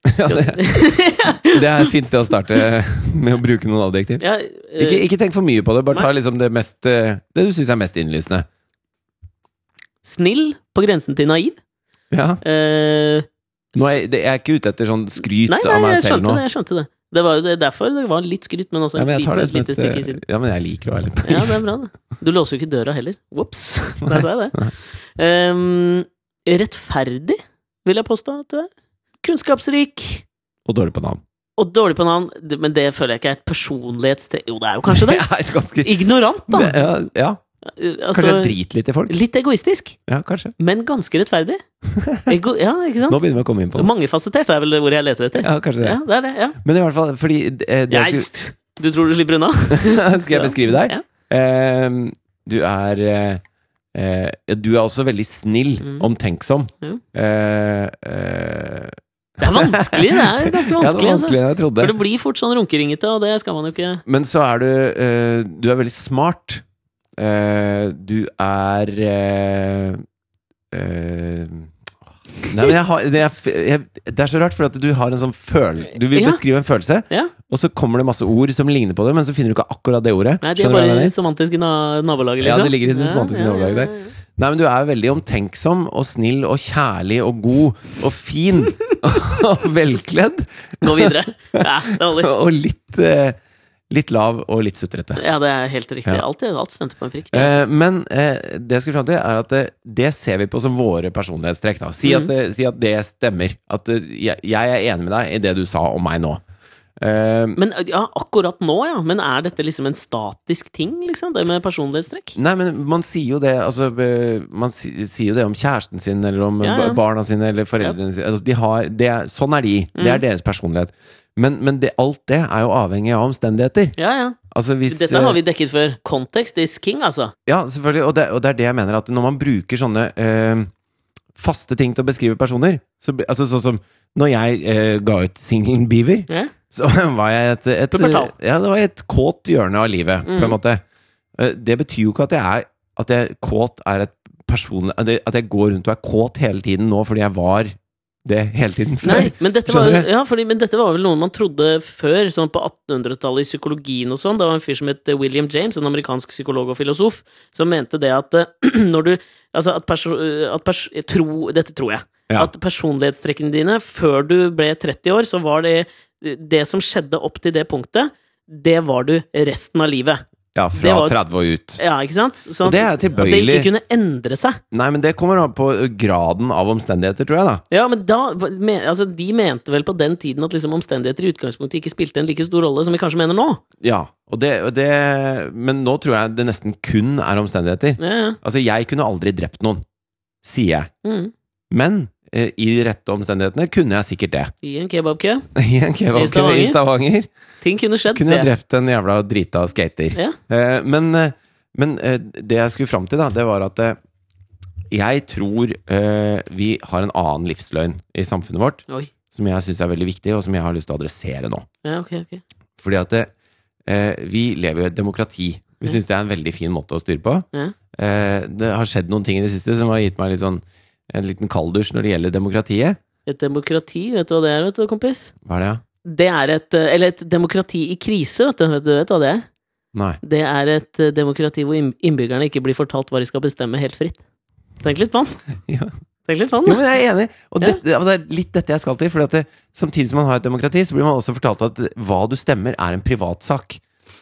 altså, <laughs> det er et fint sted å starte med å bruke noen adjektiv.
ja eh,
Ikke, ikke tenk for mye på det, bare ta
Nei.
liksom det, mest, eh, det du syns er mest innlysende.
Snill, på grensen til naiv.
Ja.
Eh,
Nå er, jeg- det, jeg er ikke ute etter sånn skryt
nei, nei,
av meg
jeg
selv
skjønte det.
nå.
jeg skjønte Det Det var jo det- derfor det var litt skryt, men også
Ja,
en
men jeg tar
lite,
det som
lite
et,
stikk i
eh,
siden.
ja, men jeg liker å være litt
Ja, det er bra, det. Du låser jo ikke døra heller. Ops! <laughs> Der sa jeg det. Ehm, rettferdig, vil jeg påstå at du er. Kunnskapsrik.
<laughs> Og dårlig på navn.
Og dårlig på navn, det- men det føler jeg ikke er et personlighetstrekk Jo, det er jo kanskje
<laughs>
det.
Jeg er ganske,
Ignorant, da.
det ja, ja, kanskje jeg
Altså,
driter litt i folk.
litt egoistisk,
Ja, kanskje.
men ganske rettferdig. Ego, ja, ikke sant?
Nå begynner vi å komme inn på det.
Mangefasettert er vel ordet jeg leter etter.
Ja, kanskje det.
Ja, det er det. ja
Men i hvert fall, fordi eh, det jeg
Jeg, Du tror du
<laughs>
slipper unna?
skulle, Skal jeg beskrive deg?
Ja.
Eh, du er eh, eh, Du er også veldig snill,
Mm.
omtenksom.
Jo.
Eh, eh,
Det er vanskelig, det er ganske
ja, det var
vanskelig. altså.
vanskeligere enn jeg trodde.
For det blir fort sånn runkeringete, og det skal man jo ikke
Men så er du eh, Du er veldig smart. Eh, du er eh, eh, Nei, men jeg har, det, er, jeg, det er så rart, for at du har en sånn føl... Du vil
Ja.
beskrive en følelse,
Ja.
og så kommer det masse ord som ligner på det, men så finner du ikke akkurat det ordet.
Nei, de er
Skjønner du hva
bare
jeg
i
mener?
semantiske na nabolaget,
Ja,
liksom.
det ligger i det semantiske nabolaget der. Nei, men du er veldig omtenksom og snill og kjærlig og god og fin <laughs> og velkledd.
Gå videre. Ja, det holder.
<laughs> Og litt, eh, litt lav og litt sutrete.
Ja, det er helt riktig.
Ja.
Alt, alt stemte på en prikk.
Eh, men eh, det jeg skulle fram til, er at det, det ser vi på som våre personlighetstrekk.
Mm.
eh, Da. Si, at, det- si at det stemmer. At eh, jeg, jeg er enig med deg i det du sa om meg nå. Eh,
Men ja, akkurat nå, ja. Men er dette liksom en statisk ting, liksom? Det med personlighetstrekk?
Nei, men man sier jo det altså, eh, Man si- sier jo det om kjæresten sin, eller om
Ja, ja.
ba- barna sine, eller foreldrene sine. Altså, de har, det er, sånn er de. Det
Mm.
er deres personlighet. Men, men det, alt det er jo avhengig av omstendigheter.
Ja, ja.
Altså, hvis,
Dette har vi dekket før. Context is king, altså.
Ja, selvfølgelig. Og det, og det er det jeg mener, at når man bruker sånne eh, faste ting til å beskrive personer så, bli- Altså sånn som når jeg eh, ga ut singelen Beaver,
Ja.
så <laughs> var jeg et, et
Pubertal. Mm.
Ja, det var et kåt hjørne av livet, på en måte. Eh, Det betyr jo ikke at jeg er At jeg kåt er et personlig At jeg at jeg går rundt og er kåt hele tiden nå fordi jeg var det hele tiden før.
Nei, men dette, var,
Skjønner du?
ja, fordi, men dette var vel noe man trodde før, sånn på 1800-tallet i psykologien og sånn. Det var en fyr som het eh, William James, en amerikansk psykolog og filosof, som mente det at eh, <clears throat> når du Altså at, perso eh, at pers jeg tro, Dette tror jeg.
Ja.
At personlighetstrekkene dine før du ble 30 år, så var det Det som skjedde opp til det punktet, det var du resten av livet.
Ja,
det
fra
var-
30 og ut.
Ja, ikke sant? Sånn
Og det er
at- at Det
tilbøyelig.
ikke kunne endre seg.
Nei, men det kommer an på graden av omstendigheter, tror jeg, da.
Ja, men da, hva- me- altså, De mente vel på den tiden at liksom, omstendigheter i utgangspunktet ikke spilte en like stor rolle som vi kanskje mener nå?
Ja, og det, og det Men nå tror jeg det nesten kun er omstendigheter.
Ja, ja.
Altså, jeg kunne aldri drept noen, sier jeg.
Mm.
Men eh, i de rette omstendighetene kunne jeg sikkert det. <laughs>
I en kebabkø.
I en kebabkø i
Stavanger?
Stavanger
Ting kunne skjedd,
kunne jeg
sier jeg.
drept en jævla drita skater.
Ja.
Eh, Men, eh, men eh, det jeg skulle fram til, da, det var at eh, jeg tror eh, vi har en annen livsløgn i samfunnet vårt
Oi.
som jeg syns er veldig viktig, og som jeg har lyst til å adressere nå.
Ja, ok, ok.
Fordi at det, eh, vi lever jo i et demokrati. Vi syns det er en veldig fin måte å styre på.
Ja.
Eh, det har skjedd noen ting i det siste som har gitt meg litt sånn, en liten kalddusj når det gjelder demokratiet.
Et demokrati, vet du hva det er, vet du, kompis?
Hva er det, ja?
Det er et eh, Eller et demokrati i krise, vet du. Vet du, vet du hva det er?
Nei.
Det er et eh, demokrati hvor innb- innbyggerne ikke blir fortalt hva de skal bestemme, helt fritt. Tenk litt på den.
<laughs> Ja.
Tenk litt på
Jo,
den.
men
da.
jeg er enig. Og
Ja.
det, det, og det er litt dette jeg skal til. For at det, samtidig som man har et demokrati, så blir man også fortalt at hva du stemmer, er en privatsak.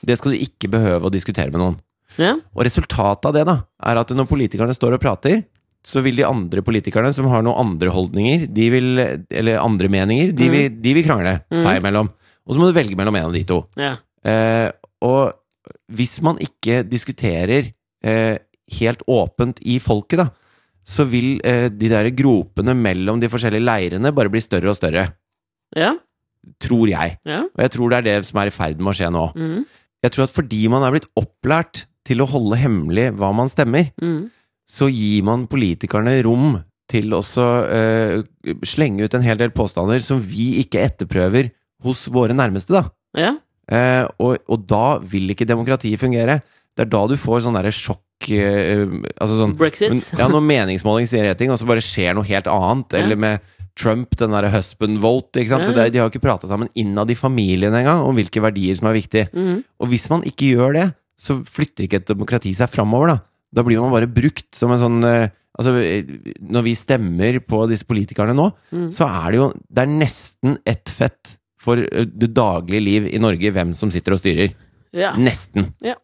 Det skal du ikke behøve å diskutere med noen.
Ja.
Og resultatet av det da, er at når politikerne står og prater, så vil de andre politikerne som har noen andre holdninger, de vil, eller andre meninger, de, vil, de vil krangle seg imellom. Og så må du velge mellom en av de to.
Ja.
Eh, og hvis man ikke diskuterer eh, helt åpent i folket, da, så vil eh, de der gropene mellom de forskjellige leirene bare bli større og større.
Ja.
Tror jeg.
Ja.
Og jeg tror det er det som er i ferd med å skje nå.
Mm.
Jeg tror at fordi man er blitt opplært til å holde hemmelig hva man stemmer,
Mm.
så gir man politikerne rom til også eh, slenge ut en hel del påstander som vi ikke etterprøver hos våre nærmeste, da.
Ja.
Eh, og, og da vil ikke demokratiet fungere. Det er da du får sånn derre sjokk eh, Altså sånn
Brexit.
men- Ja, når meningsmåling sier én ting, og så bare skjer noe helt annet.
Ja.
Eller med Trump, den derre husband vote, ikke sant.
Ja, ja.
Det er- De har jo ikke prata sammen innad i familien engang om hvilke verdier som er viktige.
Mm.
Og hvis man ikke gjør det, så flytter ikke et demokrati seg framover, da. Da blir man bare brukt som en sånn eh, Altså, eh, når vi stemmer på disse politikerne nå,
Mm.
så er det jo Det er nesten ett fett for eh, det daglige liv i Norge hvem som sitter og styrer.
Ja.
Mm. Nesten.
Ja.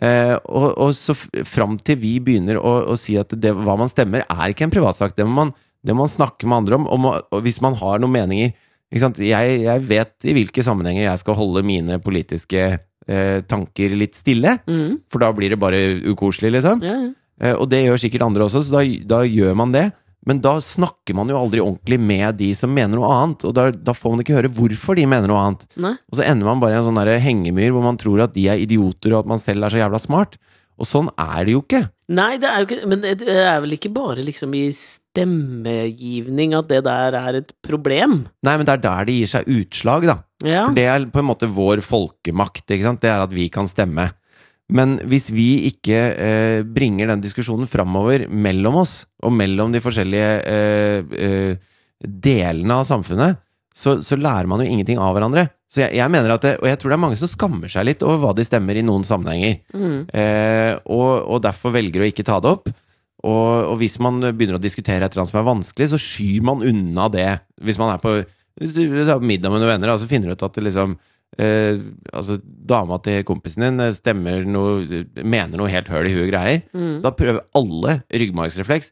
Eh, og, og så f- fram til vi begynner å, å si at det, hva man stemmer, er ikke en privatsak. Det må man, det må man snakke med andre om, og, må, og hvis man har noen meninger ikke sant? Jeg, jeg vet i hvilke sammenhenger jeg skal holde mine politiske eh, tanker litt stille,
Mm.
for da blir det bare ukoselig, liksom.
Ja, ja.
Eh, og det gjør sikkert andre også, så da, da gjør man det. Men da snakker man jo aldri ordentlig med de som mener noe annet, og da, da får man ikke høre hvorfor de mener noe annet.
Nei.
Og så ender man bare i en sånn der hengemyr hvor man tror at de er idioter, og at man selv er så jævla smart. Og sånn er det jo ikke.
Nei, det er jo ikke Men det er vel ikke bare liksom i stemmegivning at det der er et problem?
Nei, men det er der det gir seg utslag, da.
Ja.
For det er på en måte vår folkemakt, ikke sant? Det er at vi kan stemme. Men hvis vi ikke eh, bringer den diskusjonen framover mellom oss, og mellom de forskjellige eh, eh, delene av samfunnet, så, så lærer man jo ingenting av hverandre. Så jeg, jeg mener at det, Og jeg tror det er mange som skammer seg litt over hva de stemmer i noen sammenhenger.
Mm.
Eh, og, og derfor velger å ikke ta det opp. Og, og hvis man begynner å diskutere et eller annet som er vanskelig, så skyr man unna det. Hvis man er på, hvis du er på middag med noen venner, da, så finner du ut at det liksom eh, altså, dama til kompisen din eh, stemmer noe, mener noe helt høl i huet greier.
Mm.
Da prøver alle ryggmargsrefleks.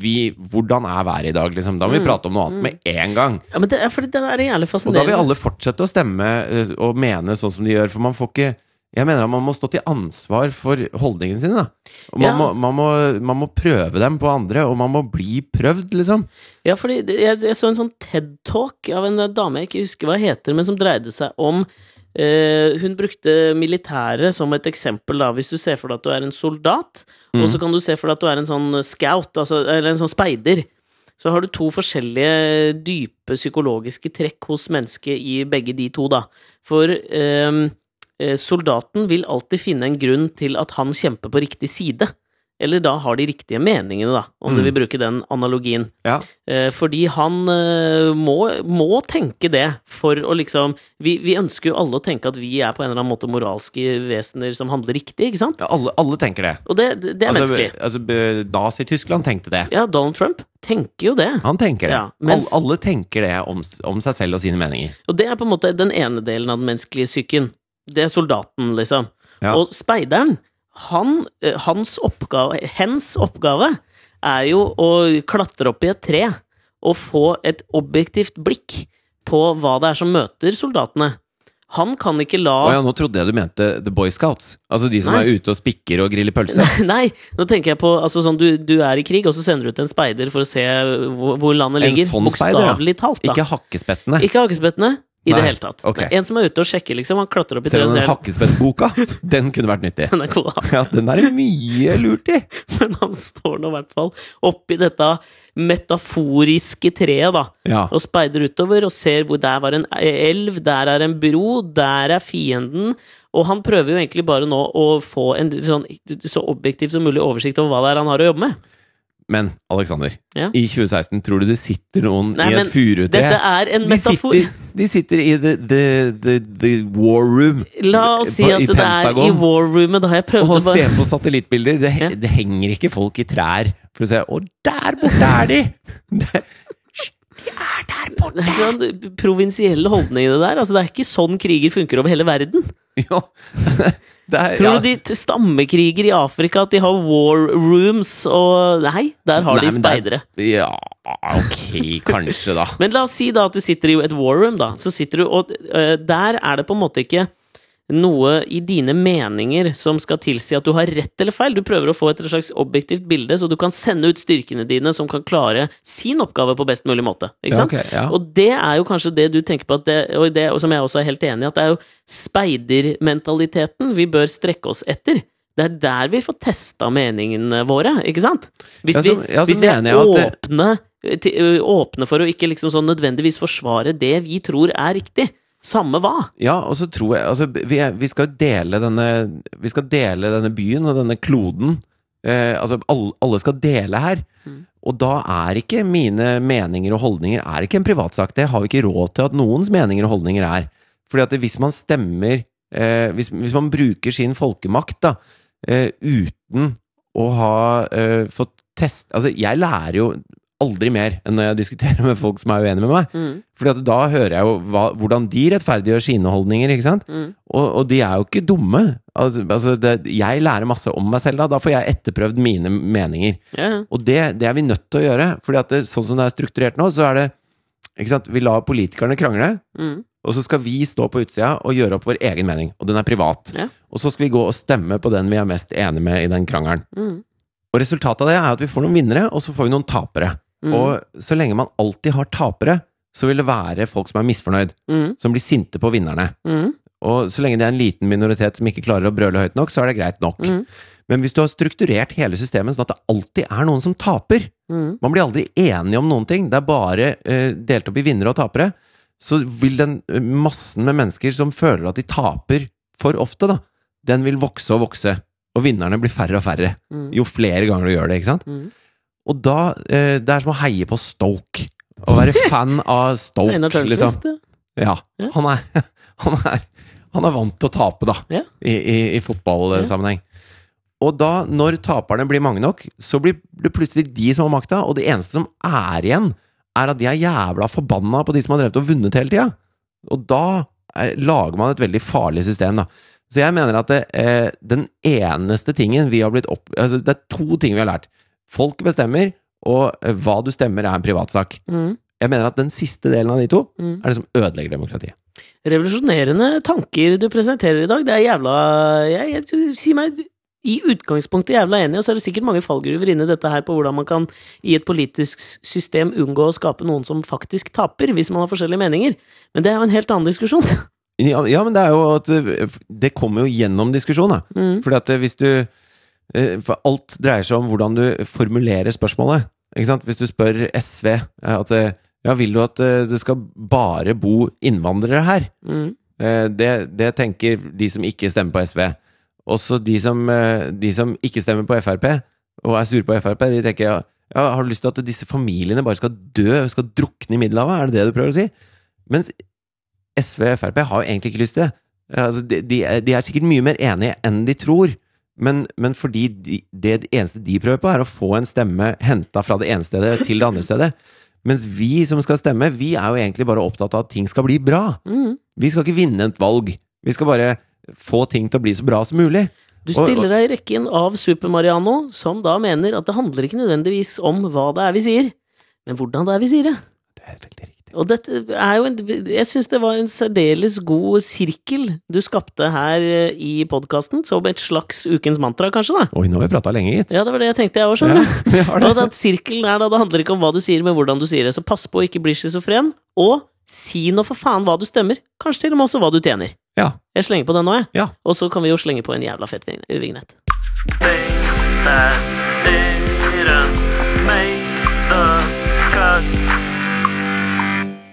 vi, hvordan er været i dag, liksom. Da må vi prate om noe annet med en gang.
Ja, men det er fordi den er jævlig
Og da
fascinerende.
vil alle fortsette å stemme eh, og mene sånn som de gjør, for man får ikke Jeg mener at man må stå til ansvar for holdningene sine, da. Og man,
Ja.
må, man, må, man må prøve dem på andre, og man må bli prøvd, liksom.
Ja, fordi det- jeg, jeg så en sånn TED-talk av en eh, dame jeg ikke husker hva heter, men som dreide seg om eh, Hun brukte militæret som et eksempel, da. Hvis du ser for deg at du er en soldat, og så kan du se for deg at du er en sånn scout, altså, eller en sånn speider. Så har du to forskjellige dype psykologiske trekk hos mennesket i begge de to, da. For ehm, eh, soldaten vil alltid finne en grunn til at han kjemper på riktig side. Eller da har de riktige meningene, da, om du
Mm.
vil bruke den analogien.
Ja.
Eh, Fordi han eh, må, må tenke det for å liksom vi, vi ønsker jo alle å tenke at vi er på en eller annen måte moralske vesener som handler riktig, ikke sant?
alle, alle tenker det.
Og det, det det er
altså,
menneskelig.
altså, b- Nazi-Tyskland tenkte det.
Ja, Donald Trump tenker jo det.
Han tenker det.
Ja, mens-
alle, alle tenker det om, s- om seg selv og sine meninger.
Og det er på en måte den ene delen av den menneskelige psyken. Det er soldaten, liksom.
Ja.
Og speideren, han, eh, hans oppgave, hens oppgave, er jo å klatre opp i et tre og få et objektivt blikk på hva det er som møter soldatene. Han kan ikke la
Å ja, nå trodde jeg du mente The Boy Scouts. Altså de som
Nei.
er ute og spikker og griller pølser.
<laughs> Nei, nå tenker jeg på altså, sånn, du, du er i krig, og så sender du ut en speider for å se hvor, hvor landet
En
ligger.
sånn speider, ja.
Bokstavelig talt, da.
Ikke hakkespettene.
Ikke hakkespettene i det
Nei,
hele tatt.
ok.
Nei, En som er ute og sjekker, liksom. Han klatrer opp i treet og
Selv om den
ser
hakkespettboka, den kunne vært
<laughs>
nyttig.
den er god.
Ja, den er det mye lurt i.
<laughs> Men han står nå i hvert fall oppi dette metaforiske treet, da.
Ja.
Og speider utover og ser hvor der var en elv, der er en bro, der er fienden. Og han prøver jo egentlig bare nå å få en sånn, så objektiv som mulig oversikt over hva det er han har å jobbe med.
Men Alexander,
Ja.
i 2016 tror du det sitter noen
Nei,
i
men
et furutre?
Dette er en
De
metafor.
sitter, de sitter i the, the, the, the war room
La oss si
på-
at
i
det er i
Pentagon.
war roomet, da har jeg prøvd
og
å
ser
bare <laughs>
på satellittbilder. Det, he-
Ja.
det henger ikke folk i trær for å se Å, der borte er de! <laughs> Det- Hysj, De er der
det
borte!
er sånn provinsielle holdninger i det der. Altså, det er ikke sånn kriger funker over hele verden.
Ja. <laughs> Det er,
Tror
ja.
du de t- stammekriger i Afrika at de har war rooms og Nei, der har
Nei,
de
men det er-
speidere.
Ja, ok, kanskje, da.
Men la oss si da at du sitter i et war room, da. Så sitter du, og øh, der er det på en måte ikke noe i dine meninger som skal tilsi at du har rett eller feil. Du prøver å få et slags objektivt bilde, så du kan sende ut styrkene dine som kan klare sin oppgave på best mulig måte. Ikke
Ja,
sant?
ok, ja.
Og det er jo kanskje det du tenker på, at det, og, det, og som jeg også er helt enig i, at det er jo speidermentaliteten vi bør strekke oss etter. Det er der vi får testa meningene våre, ikke sant? Hvis
Ja, så-
vi,
ja, så
hvis vi er
mener jeg at det-
åpne, til, ø, åpne for å ikke liksom sånn nødvendigvis forsvare det vi tror er riktig. Samme hva.
Ja, og så tror jeg altså, vi, er- vi, skal dele denne, vi skal dele denne byen og denne kloden. Eh, altså, alle, alle skal dele her. Og da er ikke mine meninger og holdninger er ikke en privatsak. Det har vi ikke råd til at noens meninger og holdninger er. Fordi at det- hvis man stemmer eh, hvis, hvis man bruker sin folkemakt da, eh, uten å ha eh, fått test... Altså, jeg lærer jo aldri mer enn når jeg diskuterer med folk som er uenige med meg. Fordi at da hører jeg jo hva, hvordan de rettferdiggjør sine holdninger, ikke sant?
Mm.
Og, og de er jo ikke dumme. Altså, altså det, jeg lærer masse om meg selv da, da får jeg etterprøvd mine meninger.
Ja, ja.
Og det, det er vi nødt til å gjøre, fordi at det, sånn som det er strukturert nå, så er det, ikke sant, vi lar politikerne krangle,
Mm.
og så skal vi stå på utsida og gjøre opp vår egen mening, og den er privat.
Ja.
Og så skal vi gå og stemme på den vi er mest enige med i den krangelen.
Mm.
Og resultatet av det er at vi får noen vinnere, og så får vi noen tapere.
Mm.
Og så lenge man alltid har tapere, så vil det være folk som er misfornøyd,
Mm.
som blir sinte på vinnerne.
Mm.
Og så lenge det er en liten minoritet som ikke klarer å brøle høyt nok, så er det greit nok.
Mm.
Men hvis du har strukturert hele systemet sånn at det alltid er noen som taper,
Mm.
man blir aldri enige om noen ting, det er bare eh, delt opp i vinnere og tapere, så vil den eh, massen med mennesker som føler at de taper for ofte, da, den vil vokse og vokse. Og vinnerne blir færre og færre
Mm.
jo flere ganger du gjør det, ikke sant?
Mm.
Og da eh, Det er som å heie på Stoke. Å være fan
<laughs>
av Stoke,
Einar
liksom.
Tørnquist. ja.
Ja.
Ja.
Han er, <laughs> han er, han er vant til å tape, da,
Ja.
i, i, i fotballsammenheng. Og da, når taperne blir mange nok, så blir det plutselig de som har makta, og det eneste som er igjen, er at de er jævla forbanna på de som har drevet og vunnet hele tida. Og da eh, lager man et veldig farlig system, da. Så jeg mener at det, eh, den eneste tingen vi har blitt opp... Altså, det er to ting vi har lært. Folk bestemmer, Og eh, hva du stemmer, er en privatsak.
Mm.
Jeg mener at den siste delen av de to
Mm.
er det som ødelegger demokratiet.
Revolusjonerende tanker du presenterer i dag. Det er jævla jeg, jeg, tror- Si meg i utgangspunktet jævla enig, og så er det sikkert mange fallgruver inni dette her på hvordan man kan i et politisk system unngå å skape noen som faktisk taper, hvis man har forskjellige meninger. Men det er jo en helt annen diskusjon. <laughs>
Ja, ja, men det er jo at eh, f- Det kommer jo gjennom diskusjon, da.
Mm.
Fordi at eh, hvis du eh, For alt dreier seg om hvordan du formulerer spørsmålet. Ikke sant? Hvis du spør SV eh, at eh, ja, vil du at eh, det skal bare bo innvandrere her?
Mm.
Eh, Det, det tenker de som ikke stemmer på SV. Også de som, eh, de som ikke stemmer på Frp, og er sure på Frp, de tenker ja, ja, har du lyst til at disse familiene bare skal dø, skal drukne i Middelhavet? Er det det du prøver å si? Mens SV og Frp har jo egentlig ikke lyst til det. Eh, Altså, de, de, er, de er sikkert mye mer enige enn de tror, men, men fordi de, det eneste de prøver på, er å få en stemme henta fra det ene stedet til det andre stedet. Mens vi som skal stemme, vi er jo egentlig bare opptatt av at ting skal bli bra.
Mm.
Vi skal ikke vinne et valg. Vi skal bare få ting til å bli så bra som mulig.
Du
Og-
stiller deg i rekken av Super-Mariano, som da mener at det handler ikke nødvendigvis om hva det er vi sier, men hvordan det er vi sier det.
Det er veldig riktig.
Og dette er jo en, jeg syns det var en særdeles god sirkel du skapte her eh, i podkasten, som et slags ukens mantra, kanskje, da.
Oi, nå har vi prata lenge, gitt.
Ja, det var det jeg tenkte, jeg òg,
Ja,
skjønner du.
vi har
Og
<laughs> det.
at sirkelen er da, det handler ikke om hva du sier, men hvordan du sier det. Så pass på å ikke bli schizofren, og si nå for faen hva du stemmer. Kanskje til og med også hva du tjener.
Ja.
Jeg slenger på den nå, jeg.
Ja.
Og så kan vi jo slenge på en jævla fett vign- vignett.
that didn't make the cut.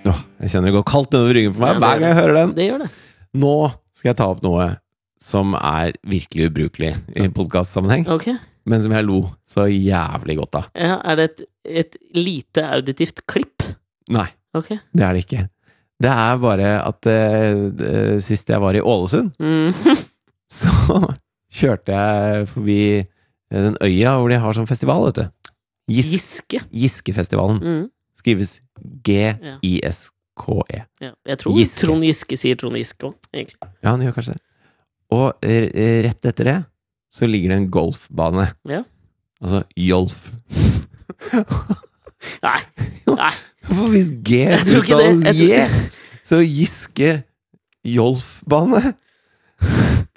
Åh, jeg kjenner det går kaldt nedover ryggen på meg
Ja, det
hver gang jeg hører den.
Det gjør det.
Nå skal jeg ta opp noe som er virkelig ubrukelig i podkastsammenheng,
Ok.
men som jeg lo så jævlig godt av.
Ja, er det et, et lite auditivt klipp?
Nei,
Ok.
det er det ikke. Det er bare at eh, det- sist jeg var i Ålesund, <laughs>
<laughs> Mm.
så kjørte jeg forbi den øya hvor de har sånn festival, vet du. Gis
Giske.
Giskefestivalen.
Mm.
Skrives G-I-S-K-E.
Ja, jeg tror
Giske.
Trond Giske sier Trond Giske òg, egentlig.
Ja, han gjør kanskje det. Og eh, eh, rett etter det så ligger det en golfbane.
Ja.
Altså Jolf.
<laughs> Nei.
Jo,
Nei.
For hvis G
Jeg tror ikke det.
uttales J,
Jeg tror-
så Giske Jolfbane.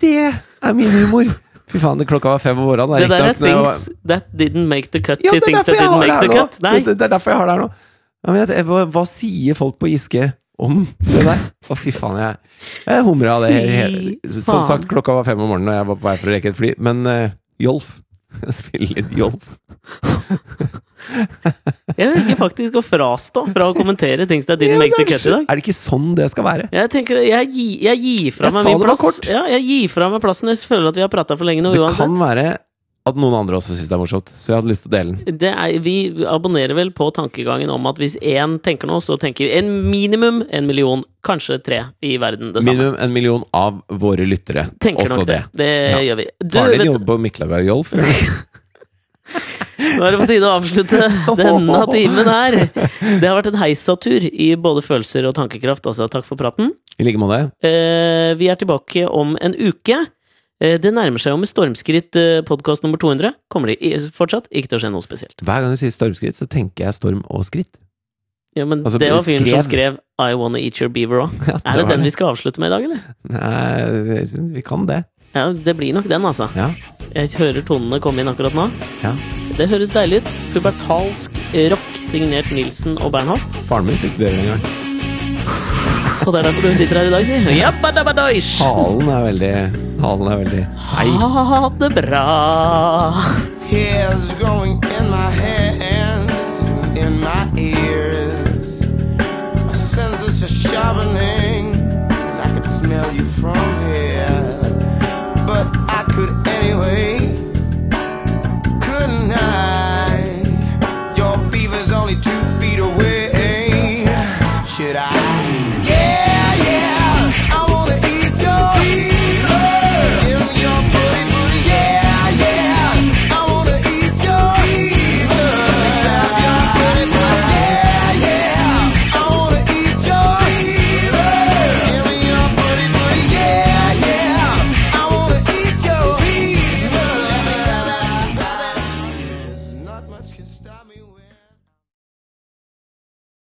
Det er min humor! Fy faen, det klokka var fem om morgenen.
Det
er
der er
riktig nok, men jeg var-
things that didn't make the cut.
Ja,
til
det er
things
derfor
that
jeg
didn't
har det
make
her
the
nå!
cut. Nei.
Det, det er derfor jeg har det her nå. Ja, men jeg, hva, hva sier folk på Giske om det der? Å, fy faen, jeg, jeg humra av det. hele- hele-
Fy
Som
faen.
sagt, klokka var fem om morgenen, og jeg var på vei for å rekke et fly. Men eh, Jolf <laughs> Spille litt Jolf.
Jeg velger faktisk å frastå fra å kommentere things that didn't
Ja,
make the
det er,
cut i dag.
er det ikke sånn det skal være?
Jeg tenker, det- jeg, gi, jeg gir fra
Jeg
meg
sa
min
det var
plass.
kort.
Ja, jeg gir fra meg plassen. Jeg føler at vi har prata for lenge nå,
Det
uansett.
kan være at noen andre også syns det er morsomt, så jeg hadde lyst til å dele den.
Det er, vi abonnerer vel på tankegangen om at hvis én tenker noe, så tenker en minimum en million, kanskje tre, i verden det samme.
Minimum en million av våre lyttere.
Tenker
også
nok det. Det,
Ja.
gjør vi. Du,
Faren din
vet-
jobber på Miklagard
<laughs>
Jolf.
Nå er det på tide å
<laughs>
avslutte denne timen her. Det har vært en heisatur i både følelser og tankekraft, altså. Takk for praten.
I like måte.
Eh, vi er tilbake om en uke. Eh, det nærmer seg jo med stormskritt eh, podkast nummer 200. Kommer det i- fortsatt ikke til å skje noe spesielt.
Hver gang du sier stormskritt, så tenker jeg storm og skritt.
Ja, men
Altså,
det var fyren som
skrev.
skrev 'I wanna eat your beaver' òg.
<laughs> Ja,
Er det
var
den vi skal avslutte med i dag, eller?
Nei, jeg synes vi kan det.
Ja, det blir nok den, altså.
Ja.
Jeg hører tonene komme inn akkurat nå.
ja.
Det høres deilig ut. Pubertalsk rock signert Nilsen og Bernhoft.
Faren min spiste bjørn en gang.
Og det er derfor du sitter her i dag, si. Jabbadabadoish!
Halen er veldig Halen er veldig seig.
Ha det bra.
Hair's growing in my hands, in my ears.